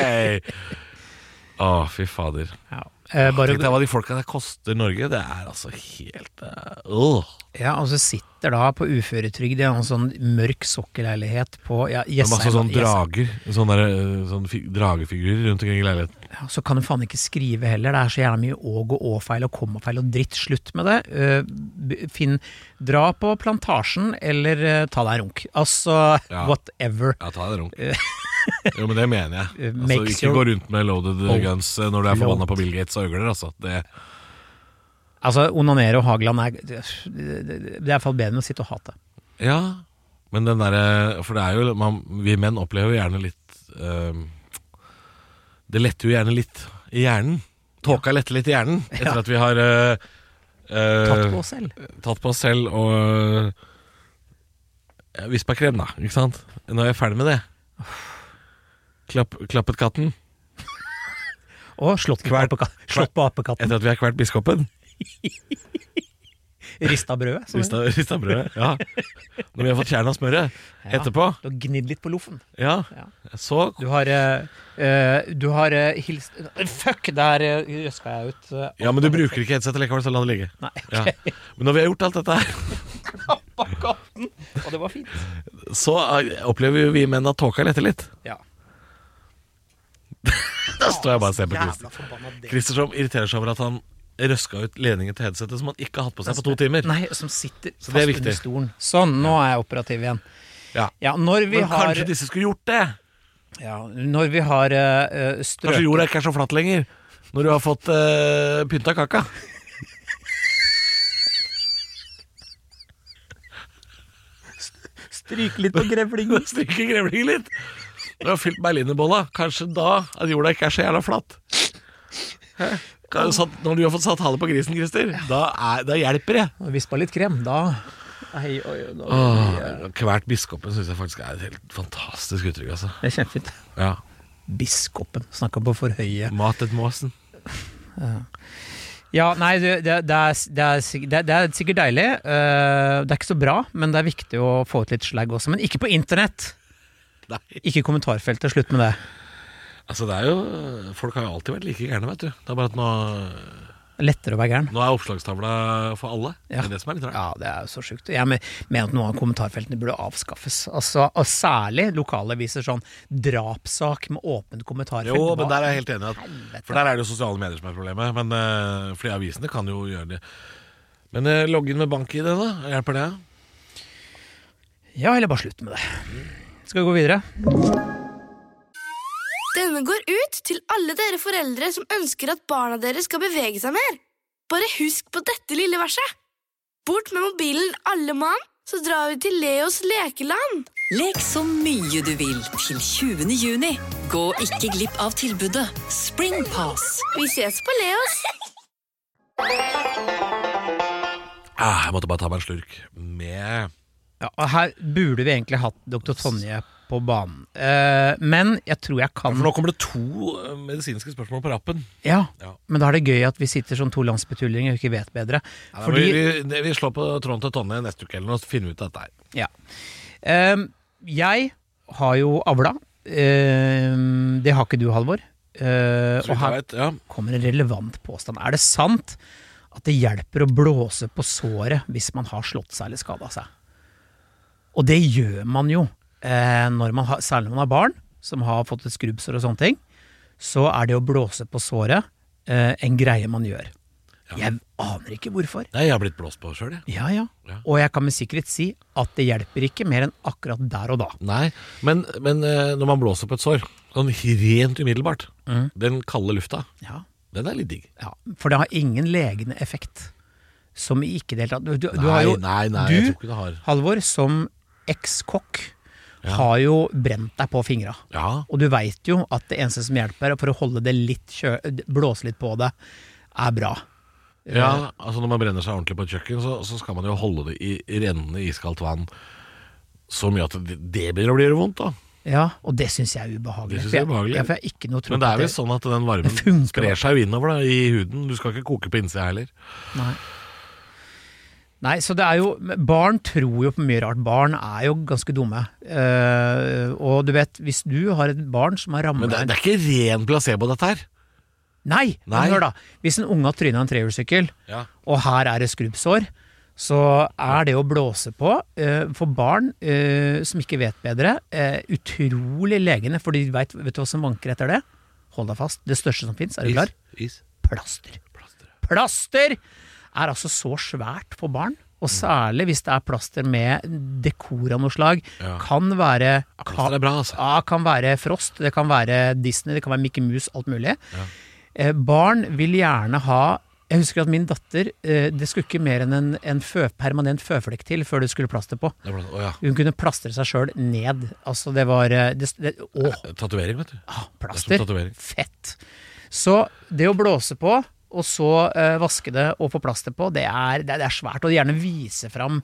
S2: Å, fy fader.
S3: Ja. Eh, bare,
S2: Tenk deg hva de folka der koster Norge. Det er altså helt eh, øh.
S3: Ja, og så sitter da på uføretrygd i en sånn mørk sokkelleilighet på ja,
S2: Det er masse
S3: Jessheim-
S2: sånn
S3: Jessheim-
S2: drager. Sånne, der, eh, sånne fi- dragefigurer rundt omkring i leiligheten.
S3: Ja, så kan du faen ikke skrive heller. Det er så gjerne mye åg og å-feil og komma-feil og dritt. Slutt med det. Eh, b- Finn Dra på Plantasjen, eller eh, ta deg en runk. Altså,
S2: Ja.
S3: whatever.
S2: Ja, ta deg en runk. Jo, men det mener jeg.
S3: Eh,
S2: Altså,
S3: makes
S2: ikke
S3: your-
S2: gå rundt med loaded
S3: Oh.
S2: guns eh, når du er forbanna
S3: Load.
S2: på Bill Gates og øgler. Altså. Det,
S3: Altså, onanere og Hageland er Det det er iallfall bedre enn å sitte og hate.
S2: ja, men den derre For det er jo man, Vi menn opplever jo gjerne litt eh, Det letter jo gjerne litt i hjernen. Tåka letter litt i hjernen etter
S3: Ja.
S2: at vi har eh, eh,
S3: Tatt på oss selv.
S2: tatt på oss selv og eh, vispa krem, da. Ikke sant? Nå er jeg ferdig med det. Klapp, klappet katten
S3: Og slått på,
S2: Kvert-
S3: apeka slått på apekatten.
S2: etter at vi har kvert biskopen.
S3: Rista brødet. som det
S2: Rista, rista brødet. Ja. Når vi har fått kjernen av smøret.
S3: heter. Ja.
S2: Etterpå.
S3: Du har gnidd litt på loffen.
S2: Ja.
S3: Ja.
S2: Så
S3: Du har, eh, eh, du har eh, hilst Fuck, der eh, røska jeg ut. eh,
S2: Ja, men du bruker ikke headset likevel, så la det ligge.
S3: Nei,
S2: Ja. Men når vi har gjort alt dette her,
S3: bakgaten. Og det var fint.
S2: så eh, opplever jo vi menn at tåka letter litt.
S3: Ja.
S2: Da står jeg bare og ser på Christer.
S3: Jævla forbanna det.
S2: Christer som irriterer seg over at han røska ut ledningen til headsetet som han ikke har hatt på seg på to timer.
S3: Nei, som sitter
S2: Så
S3: fast
S2: det er viktig.
S3: under stolen. Sånn, nå er jeg operativ igjen.
S2: Ja.
S3: Ja, når vi
S2: Men
S3: har,
S2: kanskje disse skulle gjort det?
S3: ja, når vi har eh, eh, strøket
S2: Kanskje jorda ikke er så flatt lenger? Når du har fått eh, pynta kaka?
S3: Stryk litt på grevlingen.
S2: Stryke grevlingen litt? Når du har fylt berlinerbolla, kanskje da at jorda ikke er så jævla flatt. Hæ? Kan- satt- Når du har fått satt hale på grisen, Christer, da, er, da hjelper det.
S3: Vispa litt krem, da Ei, oi, oi, nå-
S2: Åh, Ah. kvært biskopen syns jeg faktisk er et helt fantastisk uttrykk, altså.
S3: Det er kjempefint.
S2: Ja.
S3: Biskopen snakka på for høye
S2: Matet måsen.
S3: Ja, nei, det, det, det, er, det, er, sikk- det, det er sikkert deilig. eh, det er ikke så bra, men det er viktig å få ut litt slag også. Men ikke på internett!
S2: Nei.
S3: Ikke i kommentarfeltet. Slutt med det.
S2: Altså, det er jo Folk har jo alltid vært like gærne, vet du. Det er bare at nå,
S3: Lettere å være gæren.
S2: nå er oppslagstavla for alle. Det
S3: Ja.
S2: er det som er litt rart.
S3: Ja, det er jo så sjukt. Jeg men- mener at noen av kommentarfeltene burde avskaffes. Altså, og særlig lokalaviser sånn drapssak med åpent kommentarfelt.
S2: Jo,
S3: Hva-
S2: men der er jeg helt enig. i At,
S3: Helvete.
S2: for der er det jo sosiale medier som er problemet. Men uh, fordi avisene kan jo gjøre det. Men eh, logg inn med bank-ID, da. Hjelper det?
S3: Ja, eller bare slutt med det. Skal vi gå videre?
S1: Denne går ut til alle dere foreldre som ønsker at barna deres skal bevege seg mer. Bare husk på dette lille verset. Bort med mobilen alle mann, så drar vi til Leos lekeland.
S4: Lek så mye du vil til 20. juni. Gå ikke glipp av tilbudet Springpass.
S1: Vi ses på Leos.
S2: Ah, jeg måtte bare ta meg en slurk med
S3: Ja, og her burde vi egentlig hatt dr. Tonje på banen. Eh, men jeg tror jeg kan
S2: For nå kommer det to eh, medisinske spørsmål på rappen.
S3: Ja,
S2: Ja.
S3: men da er det gøy at vi sitter som to landsbetullinger og ikke vet bedre.
S2: Ja, da
S3: Fordi,
S2: blir vi, det- vi slår på tråden til Tonje neste uke eller noe, så finner vi ut av dette her.
S3: ja. Ehm, jeg har jo avla. Ehm, det har ikke du, Halvor. Eh,
S2: Så vidt jeg
S3: og her
S2: vet, ja.
S3: kommer en relevant påstand. Er det sant at det hjelper å blåse på såret hvis man har slått seg eller skada seg? Og det gjør man jo, eh, når man har, særlig når man har barn som har fått et skrubbsår og sånne ting. Så er det å blåse på såret eh, en greie man gjør. Jeg aner ikke hvorfor.
S2: Nei, jeg har blitt blåst på sjøl, jeg.
S3: Ja, ja.
S2: Ja.
S3: Og jeg kan med sikkerhet si at det hjelper ikke mer enn akkurat der og da.
S2: Nei, men, men eh, når man blåser på et sår, sånn rent umiddelbart, den kalde lufta,
S3: Ja.
S2: den er litt digg.
S3: Mm. Ja, for det har ingen legende effekt. Som i ikke det hele tatt. Du, du, du
S2: Nei,
S3: har jo,
S2: nei, nei,
S3: du,
S2: jeg tror ikke det har.
S3: Halvor, som ekskokk, har jo brent deg på fingra.
S2: Ja.
S3: Og du veit jo at det eneste som hjelper for å holde det litt kjø blåse litt på det, er bra. Eh.
S2: Ja, altså når man brenner seg ordentlig på et kjøkken, så, så skal man jo holde det i rennende iskaldt vann så mye at det, det begynner å bli vondt, da.
S3: Ja, og det syns jeg er ubehagelig.
S2: Det synes
S3: For
S2: jeg er ubehagelig.
S3: Ja, for jeg har ikke noe tro
S2: Men det
S3: på
S2: er vel sånn at den varmen
S3: Det funker, da.
S2: sprer seg jo innover da, i huden. Du skal ikke koke på innsida heller.
S3: Nei. Nei, så det er jo Barn tror jo på mye rart. Barn er jo ganske dumme. Eh, og du vet, hvis du har et barn som har rammet
S2: Men det, det er ikke ren placebo, dette her.
S3: Nei!
S2: Nei.
S3: Men hør, da. Hvis en unge har tryna en trehjulssykkel,
S2: Ja.
S3: og her er det skrubbsår, så er det å blåse på eh, for barn eh, som ikke vet bedre, eh, utrolig legende. For de vet, vet du hva som vanker etter det? Hold deg fast. Det største som fins, er du klar?
S2: Is.
S3: Plaster. Plaster er altså så svært for barn. Og
S2: Mm.
S3: særlig hvis det er plaster med dekor av noe slag.
S2: Ja.
S3: Kan være
S2: plaster er bra, altså.
S3: Ja, kan være Frost, det kan være Disney, det kan være Mickey Mouse, alt mulig. Eh, barn vil gjerne ha Jeg husker at min datter eh, Det skulle ikke mer enn en, en fø, permanent føflekk til før det skulle plaster på.
S2: Det er plaster. Å ja.
S3: Hun kunne plastre seg sjøl ned. Altså, det var eh, det, det, Åh!
S2: Tatovering, vet du.
S3: Ah,
S2: Det er
S3: plaster.
S2: som tatovering.
S3: Fett. Så det å blåse på, og så eh, vaske det og få plaster på, det er, det er, det er svært. Og gjerne vise fram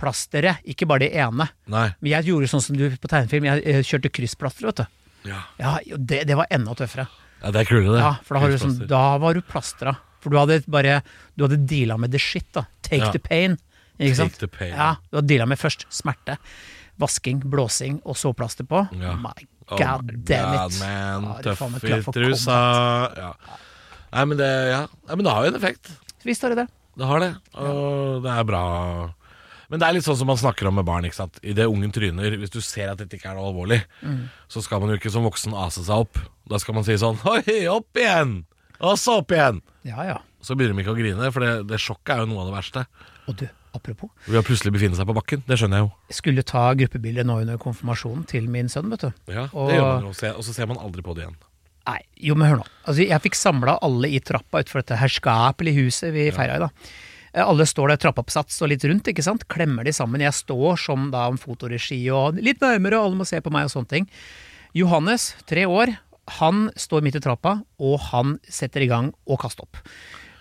S3: plasteret, ikke bare det ene.
S2: Nei.
S3: Men jeg gjorde sånn som du på tegnefilm, jeg eh, kjørte kryssplaster, vet du.
S2: Ja.
S3: Ja, jo, det, det var enda tøffere.
S2: ja, det er kulere, det.
S3: Ja, for da, har du sånn,
S2: Plaster.
S3: da var du plastra. For du hadde bare Du hadde deala med the shit, da. Take
S2: Ja.
S3: the pain. Ikke
S2: Take
S3: sant?
S2: the pain.
S3: Ja, du hadde deala med først smerte, vasking, blåsing og så plaster på.
S2: Ja.
S3: My
S2: Oh
S3: god
S2: my
S3: damn
S2: God,
S3: it.
S2: man.
S3: Ja, det er faen meg
S2: Tøff i
S3: klart for
S2: trusa. Ja. Nei, men det, ja. Nei, men det har jo en effekt.
S3: Visst har du det.
S2: Det har det, og det er bra. Men det er litt sånn som man snakker om med barn. ikke sant? I det ungen tryner, hvis du ser at dette ikke er noe alvorlig,
S3: Mm.
S2: så skal man jo ikke som voksen ase seg opp. Da skal man si sånn Oi, opp igjen! Og så opp igjen!
S3: Ja, ja.
S2: Så begynner de ikke å grine, for det, det sjokket er jo noe av det verste.
S3: Og du, apropos.
S2: Ved å plutselig befinne seg på bakken. Det skjønner jeg jo.
S3: Jeg skulle ta gruppebildet nå under konfirmasjonen til min sønn, vet du.
S2: Ja,
S3: Og-
S2: det gjør man jo, og se- og så ser man aldri på det igjen.
S3: Nei, jo, men hør nå. Altså, jeg fikk samla alle i trappa utenfor dette herskapelige huset vi feira i, da. Eh, Alle står der trappeoppsats og litt rundt, ikke sant. Klemmer de sammen. Jeg står som da en fotoregi og litt nærmere, og alle må se på meg og sånne ting. Johannes, tre år, han står midt i trappa, og han setter i gang å kaste opp.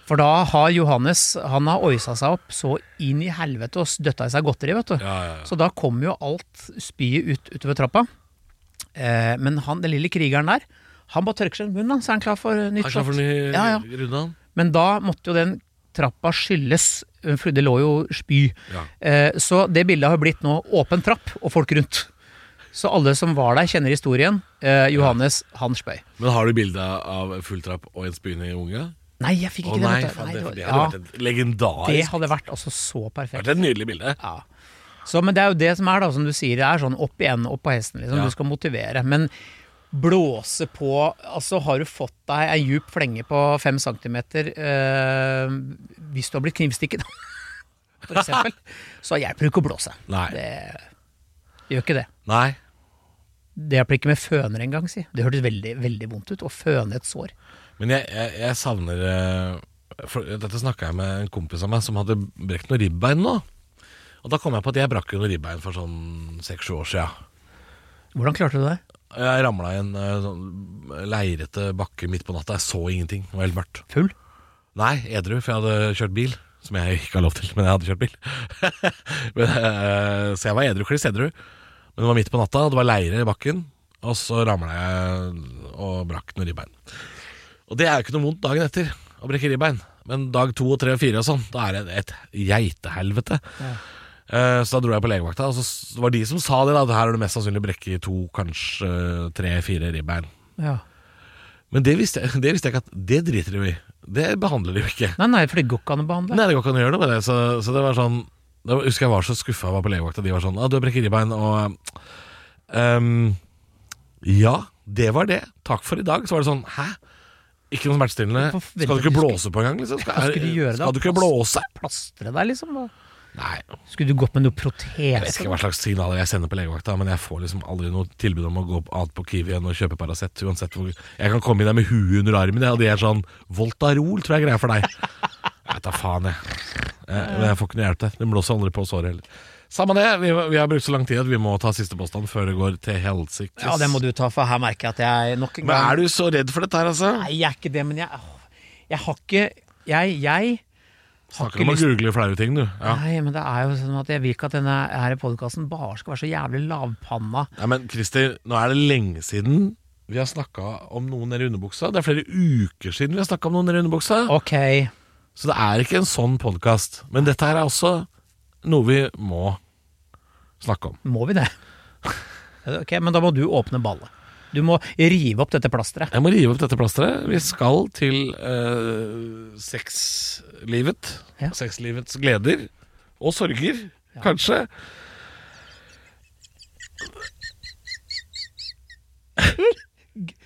S3: For da har Johannes han har oisa seg opp så inn i helvete og døtta i seg godteri. vet du.
S2: Ja, ja, ja.
S3: Så da kommer jo alt spyet ut utover trappa. Eh, men han, den lille krigeren der, han bare tørker seg munnen, da, så er han klar for nytt
S2: Er klar for
S3: shot.
S2: en ny
S3: Ja, ja.
S2: runde? han?
S3: Men da måtte jo den trappa skylles, for det lå jo spy.
S2: Ja.
S3: Eh, så det bildet har blitt nå åpen trapp og folk rundt. Så alle som var der, kjenner historien. Eh, Johannes, han spøy.
S2: Men har du bilde av full trapp og en spyende unge?
S3: Nei, jeg fikk
S2: Å
S3: ikke det.
S2: nei,
S3: vet du.
S2: faen,
S3: Nei,
S2: det,
S3: det var-
S2: det
S3: ja,
S2: hadde vært et legendarisk
S3: det hadde vært altså så
S2: Det
S3: perfekt.
S2: hadde vært et nydelig bilde.
S3: Ja. Så, men det er jo det som er, da, som du sier, det er sånn opp igjen, opp på hesten, liksom.
S2: Ja.
S3: Du skal motivere. Men blåse på Altså, har du fått deg ei djup flenge på fem centimeter eh, hvis du har blitt knivstikket, for eksempel, så hjelper det ikke å blåse.
S2: Nei.
S3: Det gjør ikke det.
S2: Nei.
S3: Det hjelper ikke med føner engang, si. Det hørtes veldig, veldig vondt ut å føne et sår.
S2: Men jeg, jeg, jeg savner eh, for, Dette snakka jeg med en kompis av meg som hadde brekt noen ribbein nå. Og da kom jeg på at jeg brakk jo noen ribbein for sånn seks-sju år sia.
S3: Hvordan klarte du det?
S2: Jeg ramla i en eh, sånn leirete bakke midt på natta. Jeg så ingenting. Det var helt mørkt.
S3: Full?
S2: Nei, edru, for jeg hadde kjørt bil. Som jeg ikke har lov til, men jeg hadde kjørt bil. men, eh, så jeg var edru, kliss edru. Men det var midt på natta, og det var leire i bakken. Og så ramla jeg og brakk noen ribbein. Og det er jo ikke noe vondt dagen etter å brekke ribbein. Men dag to og tre og fire og sånn, da er det et geitehelvete. Eh, Så da dro jeg på legevakta, og så s- var de som sa det. da at Her har du mest sannsynlig brekket to, kanskje tre-fire ribbein.
S3: Ja.
S2: Men det visste, jeg, det visste jeg ikke at det driter de jo i. Det behandler de jo ikke.
S3: Nei, nei, for det går ikke an å behandle.
S2: Nei, det går ikke an å gjøre noe med det. Så, så det var sånn Da husker jeg var så skuffa jeg var på legevakta. De var sånn ah, 'Du har brekket ribbein', og ehm, Ja, det var det. Takk for i dag. Så var det sånn 'hæ'? Ikke noe smertestillende.
S3: Hvorfor
S2: Skal du ikke
S3: skal-
S2: blåse på engang? Liksom?
S3: Hva skulle de gjøre da?
S2: skal du ikke blåse?
S3: Plastre deg, liksom. hva?
S2: Nei.
S3: Skulle du gått med noe
S2: Jeg vet
S3: protese?
S2: ikke hva slags signaler jeg sender på legevakta, men jeg får liksom aldri noe tilbud om å gå på- annet på Kiwi enn å kjøpe Paracet. Uansett hvor Jeg kan komme inn der med huet under armen, jeg, og de er sånn Voltarol tror jeg er greia for deg. Jeg vet da faen, jeg. Eh, Men jeg får ikke noe hjelp der. Det blåser aldri på såret heller. Samme det, vi, vi har brukt så lang tid at vi må ta siste påstand før det går til helsike.
S3: Ja, det må du ta, for her merker jeg at jeg nok en
S2: Men
S3: gang
S2: er du så redd for dette her, altså?
S3: Nei, jeg er ikke det, men jeg, åh, jeg har ikke Jeg, jeg har
S2: Snakker
S3: ikke
S2: om å
S3: lyst
S2: google flaue ting, du. Ja.
S3: Nei, men det er jo sånn at jeg vil ikke at denne her podkasten bare skal være så jævlig lavpanna.
S2: Nei, men Christer, nå er det lenge siden vi har snakka om noen nede i underbuksa. Det er flere uker siden vi har snakka om noen nede i underbuksa.
S3: Ok.
S2: Så det er ikke en sånn podkast. Men dette her er også noe vi må snakke om.
S3: Må vi det? Ok, Men da må du åpne ballet. Du må rive opp dette plasteret.
S2: Jeg må rive opp dette plasteret. Vi skal til eh, sexlivet.
S3: Ja.
S2: Sexlivets gleder. Og sorger, kanskje.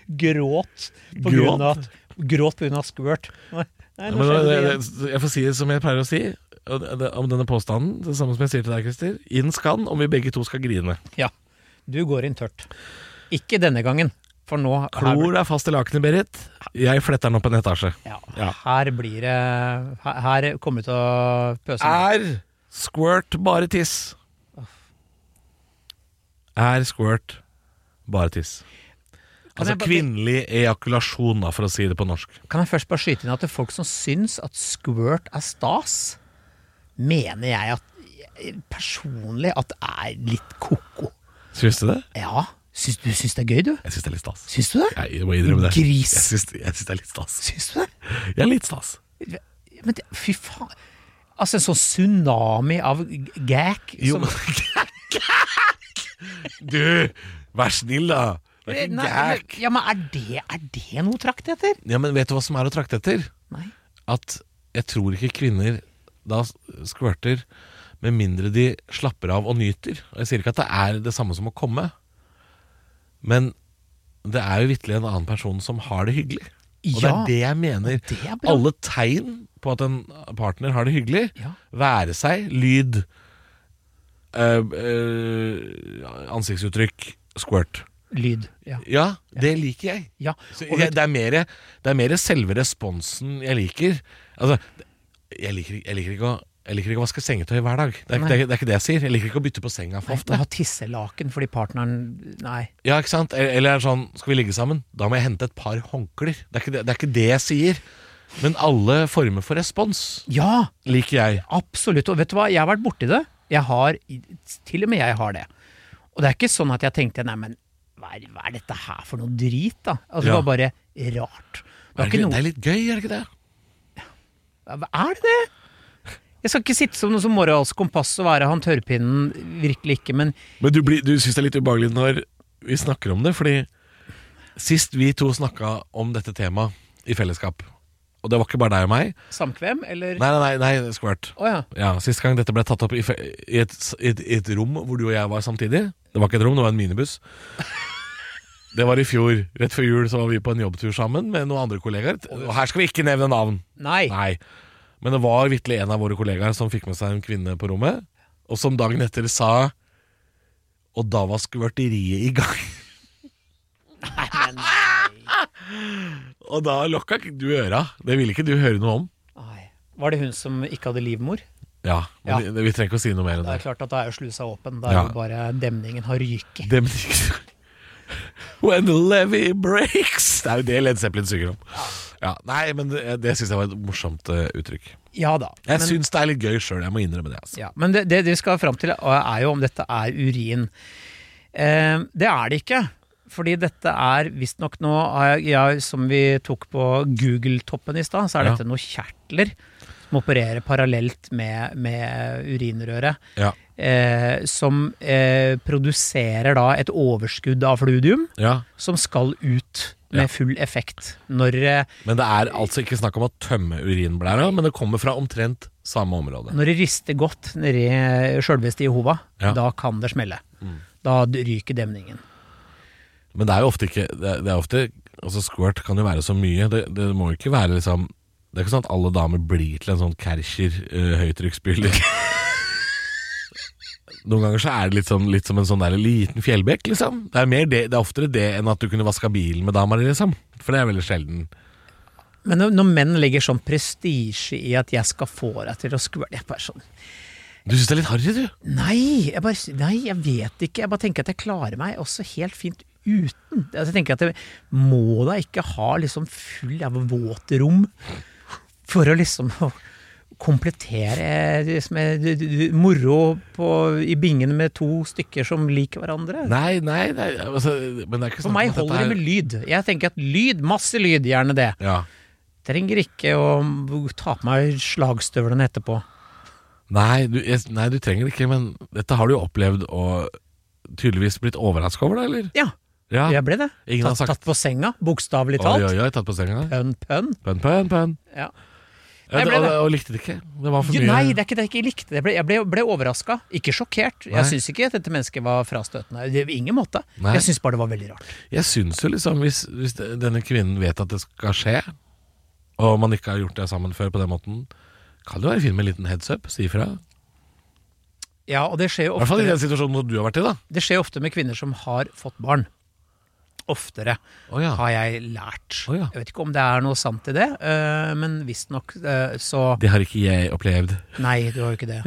S3: Gråt på
S2: Gråt?
S3: grunn av at Gråt på grunn av skvørt. Nei, nei, nå
S2: Men,
S3: skjer det
S2: eh,
S3: igjen.
S2: jeg får si det som jeg pleier å si og det- det- om denne påstanden. Det samme som jeg sier til deg, Christer. Inn skann om vi begge to skal grine.
S3: Ja. Du går inn tørt. Ikke denne gangen, for nå her,
S2: Klor er fast i lakenet, Berit. Jeg fletter den opp en etasje.
S3: ja,
S2: Ja.
S3: her blir det Her, her kommer du til å pøse inn.
S2: Er squirt bare tiss? Er squirt bare tiss?
S3: Kan
S2: Altså
S3: jeg bare-
S2: kvinnelig ejakulasjon, da, for å si det på norsk.
S3: Kan jeg først bare skyte inn at det er folk som syns at squirt er stas, mener jeg at personlig at det er litt ko-ko.
S2: Syns du det?
S3: Ja. Syns du syns det er gøy, du?
S2: Jeg syns det er litt stas.
S3: Syns du det?
S2: Jeg må innrømme det.
S3: Gris.
S2: Jeg syns, jeg syns det er litt stas.
S3: Syns du det?
S2: Jeg er litt stas.
S3: Men det, fy faen. Altså, en sånn tsunami av g- gag
S2: Jo,
S3: som
S2: men Du, vær snill, da. Det er ikke
S3: Nei,
S2: gærent.
S3: men- Ja, men er det, er det noe å trakte etter?
S2: Ja, men vet du hva som er å trakte etter?
S3: Nei.
S2: at jeg tror ikke kvinner da skvørter med mindre de slapper av og nyter. Og Jeg sier ikke at det er det samme som å komme, men det er jo vitterlig en annen person som har det hyggelig. Og det
S3: Ja.
S2: er det jeg mener.
S3: Det er bra.
S2: Alle tegn på at en partner har det hyggelig,
S3: Ja.
S2: være seg, lyd, øh, øh, ansiktsuttrykk, squirt.
S3: Lyd. Ja.
S2: Ja, det liker jeg.
S3: ja.
S2: Så
S3: Og
S2: jeg,
S3: vet,
S2: det, er mer, det er mer selve responsen jeg liker. Altså, jeg liker, jeg liker ikke å Jeg liker ikke å vaske sengetøy hver dag. Det er, ikke- det, er, det er ikke det jeg sier. Jeg liker ikke å bytte på senga for
S3: Ofte
S2: ofte.
S3: ha tisselaken fordi partneren Nei.
S2: Ja, ikke sant? Eller- Eller er det sånn Skal vi ligge sammen? Da må jeg hente et par håndklær. Det, er ikke det, det er ikke det jeg sier. Men alle former for respons
S3: Ja!
S2: liker jeg.
S3: Absolutt. Og vet du hva, jeg har vært borti det. Jeg har, til og med jeg har det. Og det er ikke sånn at jeg tenkte nei, men hva er, hva er dette her for noe drit, da? Altså, Det
S2: Ja.
S3: var bare rart. Det
S2: Er
S3: var
S2: det,
S3: ikke
S2: ikke, det
S3: noe,
S2: er litt gøy, er det ikke det?
S3: Hva er det det? Jeg skal ikke sitte som noe som moralsk kompass og være han tørrpinnen, virkelig ikke, men
S2: Men du, blir- du syns det er litt ubehagelig når vi snakker om det, fordi sist vi to snakka om dette temaet i fellesskap, og det var ikke bare deg og meg
S3: samkvem,
S2: Nei,
S3: eller?
S2: nei, nei, nei skvert.
S3: Å ja.
S2: Ja, Sist gang dette ble tatt opp i, fe- i, et, s- i, et, i et rom hvor du og jeg var samtidig Det var ikke et rom, det var en minibuss. Det var i fjor. Rett før jul så var vi på en jobbtur sammen med noen andre kollegaer. Og her skal vi ikke nevne navn.
S3: Nei.
S2: Nei. Men det var vitterlig en av våre kollegaer som fikk med seg en kvinne på rommet, og som dagen etter sa Og da var skvørteriet i gang. og da lokka ikke du øra. Det ville ikke du høre noe om.
S3: Nei. Var det hun som ikke hadde livmor?
S2: Ja, men
S3: Ja.
S2: Vi, vi trenger ikke å si noe mer enn
S3: Det er
S2: det.
S3: klart at da er jo slusa åpen. Da er
S2: Ja.
S3: jo bare demningen har ryket.
S2: det men, When the levy breaks Det er jo det Led Zeppelin synger om. Ja, nei, men det, det syns jeg var et morsomt eh, uttrykk.
S3: Ja da.
S2: Jeg
S3: men-
S2: syns det er litt gøy sjøl, jeg må innrømme det. Altså.
S3: Ja, men det, det vi skal fram til eh, er jo om dette er urin. Eh, det er det ikke. Fordi dette er visstnok nå, har jeg- jeg- som vi tok på Google-toppen i stad, så er
S2: Ja.
S3: dette noen kjertler som opererer parallelt med, med urinrøret.
S2: Ja.
S3: Eh, som eh, produserer da et overskudd av fluidium
S2: Ja.
S3: som skal ut med
S2: Ja.
S3: full effekt når eh,
S2: Men det er altså ikke snakk om å tømme urinblæra, men det kommer fra omtrent samme område.
S3: Når det rister godt nedi eh, sjølveste Jehova,
S2: Ja. Mm.
S3: da kan det smelle. Da ryker demningen.
S2: Men det er jo ofte ikke Det er, det er ofte Altså Squirt kan jo være så mye. Det, det må jo ikke være liksom Det er ikke sånn at alle damer blir til en sånn Kärcher uh, høytrykksspyler. Noen ganger så er det litt, sånn, litt som en sånn der liten fjellbekk, liksom. Det er, mer det, det er oftere det enn at du kunne vaska bilen med dama di, liksom. For det er veldig sjelden.
S3: Men når, når menn legger sånn prestisje i at jeg skal få deg til å skvøle Jeg bare sånn
S2: Du syns det er litt harry, du?
S3: Nei jeg, bare, nei, jeg vet ikke. Jeg bare tenker at jeg klarer meg også helt fint uten. Altså, jeg tenker at jeg må da ikke ha liksom full av våt rom for å liksom komplettere eh, liksom, eh, du- du- du- moro på, i bingen med to stykker som liker hverandre.
S2: Nei, nei, nei altså, Men det er ikke
S3: For
S2: snakk
S3: meg
S2: om at dette
S3: holder det
S2: er-
S3: med lyd. Jeg tenker at lyd, masse lyd, gjerne det.
S2: ja.
S3: Trenger ikke å ta på meg slagstøvlene etterpå.
S2: Nei du, jeg, nei, du trenger det ikke, men dette har du jo opplevd og tydeligvis blitt overraska over, da, eller?
S3: Ja,
S2: Ja.
S3: jeg ble det.
S2: Ah. Ingen har
S3: Tatt,
S2: sagt-
S3: tatt på senga, bokstavelig
S2: Oi,
S3: talt.
S2: oi, oi, tatt på senga.
S3: Pønn, pønn.
S2: Pønn, pønn, pønn.
S3: Ja.
S2: Ja,
S3: Nei,
S2: det-
S3: ble
S2: og,
S3: det.
S2: og likte det ikke. Det var for
S3: Jo,
S2: mye.
S3: Nei, det er ikke det jeg ikke likte. Jeg ble, jeg ble, ble overraska, ikke sjokkert.
S2: Nei.
S3: Jeg syns ikke at dette mennesket var frastøtende. Det, på ingen måte.
S2: Nei.
S3: Jeg syns bare det var veldig rart.
S2: Jeg syns jo liksom, hvis, hvis de- denne kvinnen vet at det skal skje, og man ikke har gjort det sammen før på den måten, kan det jo være fint med en liten heads up, si ifra. I
S3: Ja, og det skjer jo
S2: hvert fall i
S3: oftere,
S2: den situasjonen som du har vært i, da.
S3: det skjer ofte med kvinner som har fått barn. Oftere.
S2: Å ja.
S3: har jeg lært.
S2: Å, ja.
S3: Jeg vet ikke om det er noe sant i det, øh, men visstnok øh, så
S2: Det har ikke jeg opplevd.
S3: Nei, du har jo ikke det.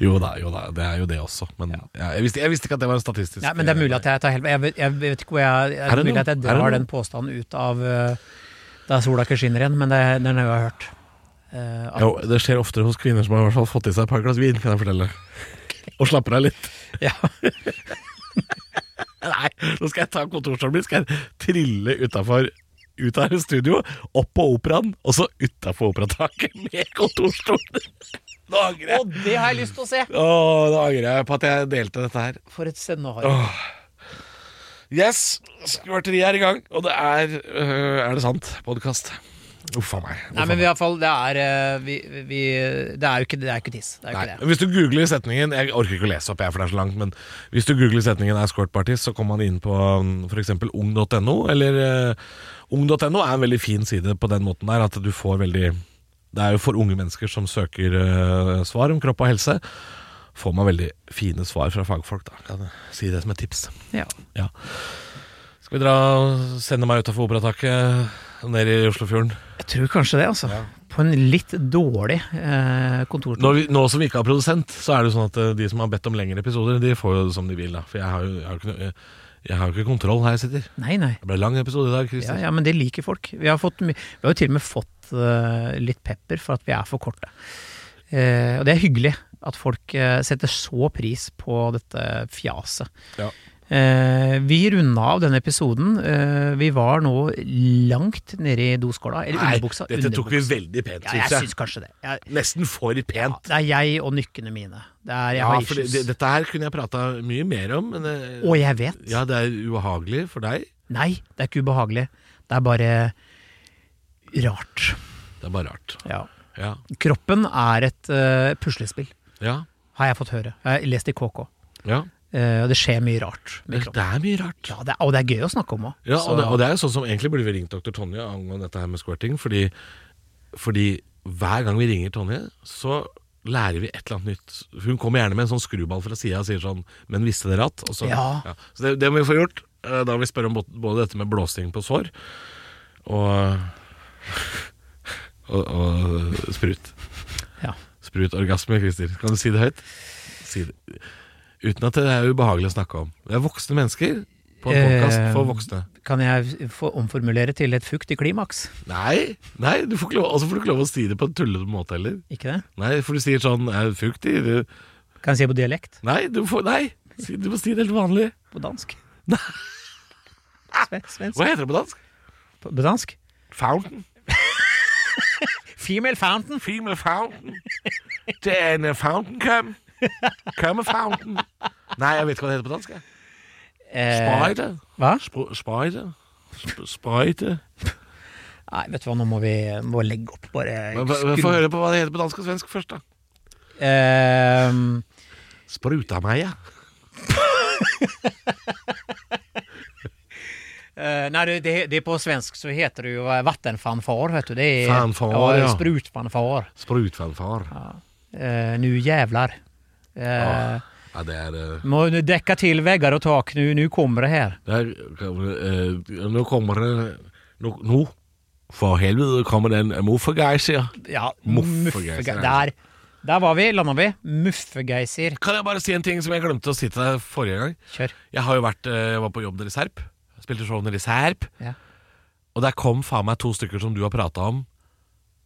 S2: Jo da, jo da, det er jo det også, men ja, jeg, visste, jeg visste ikke at det var en statistisk
S3: Nei, men det er mulig at jeg tar helt Jeg vet, jeg vet ikke hvor jeg det
S2: Er
S3: Er
S2: det
S3: mulig
S2: noe?
S3: at jeg
S2: Er det noe?
S3: drar den påstanden ut av øh, da sola ikke skinner igjen, men det, den har jeg jo hørt. Eh, at,
S2: Jo, det skjer oftere hos kvinner som har i hvert fall fått i seg et par glass vin, kan jeg fortelle. Og slapper av litt.
S3: ja.
S2: Nei, nå skal jeg ta kontorstolen min, skal jeg trille utafor ut av studio, opp på operaen, og så utafor operataket med kontorstolen. Nå angrer jeg.
S3: Og det har jeg lyst til å se!
S2: Å, nå angrer jeg på at jeg delte dette her.
S3: For et scenario.
S2: Yes, skvørteriet er i gang, og det er øh, Er det sant? Podkast. Uff a meg.
S3: Nei, men i hvert fall, det er øh, vi, vi, Det er jo ikke, det er ikke tiss. Det er jo
S2: Nei.
S3: ikke det.
S2: Hvis du googler setningen Jeg orker ikke å lese opp, jeg, for det er så langt. Men hvis du googler setningen 'er squirtpartist', så kommer man inn på um, f.eks. ung.no. Eller eh, Ung.no er en veldig fin side på den måten der at du får veldig Det er jo for unge mennesker som søker eh, svar om kropp og helse. Får man veldig fine svar fra fagfolk, da. Kan jeg si det som et tips.
S3: Ja.
S2: Ja. Skal vi dra og sende meg utafor operataket ned i Oslofjorden?
S3: Jeg tror kanskje det, altså. på en litt dårlig eh, kontortur.
S2: Når vi, nå som vi ikke har produsent, så er det jo sånn at eh, de som har bedt om lengre episoder, de får jo det som de vil, da. For jeg har jo, jeg har jo, ikke, noe- jeg- jeg har jo ikke kontroll her jeg sitter.
S3: Nei, nei.
S2: Det ble lang episode i dag,
S3: Ja,
S2: Christer.
S3: ja, men det liker folk. Vi har, fått, my- vi har jo til og med fått eh, litt pepper for at vi er for korte. Eh, og det er hyggelig at folk eh, setter så pris på dette fjaset.
S2: Ja.
S3: Eh, vi runda av denne episoden. Eh, vi var nå langt nede i doskåla. Eller
S2: Nei,
S3: underbuksa.
S2: dette tok vi
S3: underbuksa.
S2: veldig pent,
S3: Ja, jeg
S2: syns jeg.
S3: syns kanskje det. Jeg,
S2: Nesten for
S3: ja,
S2: pent.
S3: det er jeg og nykkene mine. Det er, jeg
S2: Ja,
S3: har
S2: for det,
S3: issues.
S2: det, dette her kunne jeg prata mye mer om, men eh,
S3: og jeg vet.
S2: ja, det er ubehagelig for deg.
S3: Nei, det er ikke ubehagelig. Det er bare rart.
S2: Det er bare rart.
S3: Ja.
S2: Ja.
S3: Kroppen er et eh, puslespill,
S2: Ja.
S3: har jeg fått høre. Jeg har lest i KK.
S2: ja.
S3: Eh, og det skjer mye rart med
S2: Det,
S3: kroppen.
S2: det er mye rart.
S3: Ja, det er, og det er gøy å snakke om òg.
S2: Ja, og det, og det er jo sånn som egentlig burde vi ringt dr. Tonje angående dette her med squirting, fordi, fordi hver gang vi ringer Tonje, så lærer vi et eller annet nytt. Hun kommer gjerne med en sånn skruball fra sida og sier sånn 'Men visste dere at?' Og så,
S3: Ja.
S2: Så det, det må vi få gjort. Eh, Da må vi spørre om bot- både dette med blåsting på sår og Og, og sprut.
S3: Ja.
S2: Sprutorgasme, Christer. Kan du si det høyt? Si det. Uten at det er ubehagelig å snakke om. Det er voksne mennesker på en podkast
S3: Eh,
S2: for voksne.
S3: Kan jeg få omformulere til et fuktig klimaks?
S2: Nei, nei du får ikke lov, altså får du ikke lov å si det på en tullete måte heller.
S3: Ikke det?
S2: Nei, for du sier sånn er det frukt i det?»
S3: Kan jeg si det på dialekt?
S2: Nei, du, får, nei si, du må si det helt vanlig.
S3: På dansk?
S2: Nei.
S3: Sve- Svensk?
S2: Hva heter det på dansk?
S3: På på dansk?
S2: Fountain.
S3: Female fountain!
S2: Female fountain. Det er en eh, fountain cum. Cum fountain. Nei, jeg vet ikke hva det heter på dansk. jeg.
S3: Eh,
S2: Sprøyte.
S3: hva?
S2: Spr- Sprøyte. Sp- Sprøyte.
S3: Nei, vet du hva, nå må vi må legge opp, bare.
S2: Men hva-
S3: skru-
S2: Få høre på hva det heter på dansk og svensk først, da.
S3: Ehm,
S2: Spruta meg, ja.
S3: Eh, nej, det, det, det är på svensk så heter det ju eh, vattenfanfar, vet du. Det är
S2: Fanfar, ja.
S3: sprutfanfar.
S2: Sprutfanfar.
S3: Eh, nu jävlar. Eh,
S2: Ja. Ja, det er eh,
S3: Må nu däcka till väggar och tak, nu, nu kommer det här.
S2: Der, eh, nå kommer det Nå, nå for helvete kommer den muffegeiser.
S3: Ja,
S2: Muffegeiser.
S3: muffega- Där, där var vi, landade vi. Muffegeiser.
S2: Kan jeg bare si en ting som jeg glemte å si til deg forrige gang?
S3: Kör.
S2: Jeg har jo vært, eh, jeg var på jobb nede i Serp. Jeg Spilte show nede i Serp.
S3: Ja.
S2: Og der kom faen meg to stykker som du har prata om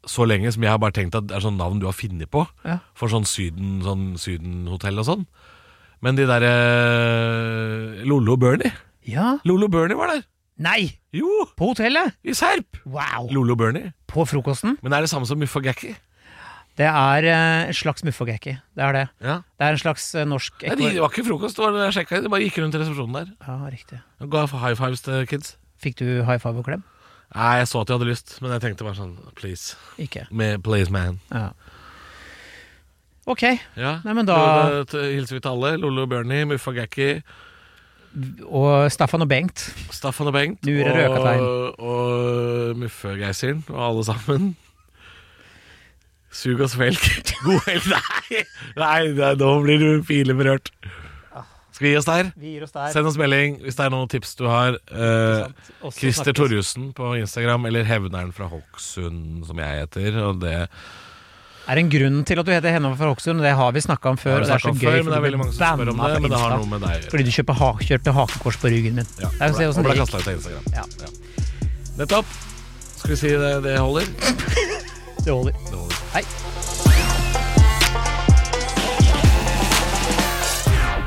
S2: så lenge, som jeg har bare tenkt at det er sånn navn du har funnet på.
S3: Ja.
S2: For sånn Syden sånn Sydenhotell og sånn. Men de derre eh, Lollo og Bernie.
S3: ja.
S2: Lollo og Bernie var der!
S3: Nej,
S2: Jo,
S3: på hotellet.
S2: i Serp!
S3: Wow.
S2: Lollo og Bernie.
S3: På frukosten.
S2: Men det er det samme som Muffagekki.
S3: Det er eh, en slags muffegekki. Det er det.
S2: Ja.
S3: Det er en slags eh, norsk
S2: Nei, de- det var ikke frokost, det var det jeg sjekket De bare gikk rundt i resepsjonen der.
S3: Ja, riktig.
S2: Og ga high fives til kids.
S3: Fikk du high five og klem?
S2: Nei, jeg så at de hadde lyst, men jeg tenkte bare sånn Please.
S3: Ikke.
S2: Med please man.
S3: Ja. Ok.
S2: Ja.
S3: Nei, men da-
S2: Da t- hilser vi til alle. Lollo og Bernie, Muffa Gakki,
S3: Og Staffan og Bengt.
S2: Staffan og Bengt.
S3: Nure Røkatein.
S2: og, og Muffegeiser'n og alle sammen. Sug og svelg. God helg. Nei, nei, nei, nå blir du pileberørt.
S3: Ah.
S2: Skal vi gi oss der?
S3: Vi gir oss der.
S2: Send oss melding hvis det er noen tips du har. Eh, Christer Torjussen på Instagram, eller Hevneren fra Hokksund, som jeg heter. Og det
S3: Er det en grunn til at du heter Henna fra Hokksund? Det har vi snakka om
S2: har
S3: før.
S2: vi
S3: og det er
S2: snakket
S3: så
S2: om
S3: gøy,
S2: før, men
S3: for
S2: det
S3: du
S2: er veldig mange som spør om
S3: banna
S2: det.
S3: på
S2: Men det har
S3: Insta
S2: noe med deg å gjøre.
S3: Fordi du kjøper ha kjørte hakekors på ryggen min.
S2: Ja,
S3: Det er jo se
S2: og
S3: hvordan
S2: ble
S3: det gikk.
S2: kastet ut av Instagram.
S3: Ja.
S2: Ja. Nettopp. Skal vi si det, det holder?
S3: Det holder.
S2: Det holder.
S3: Hei.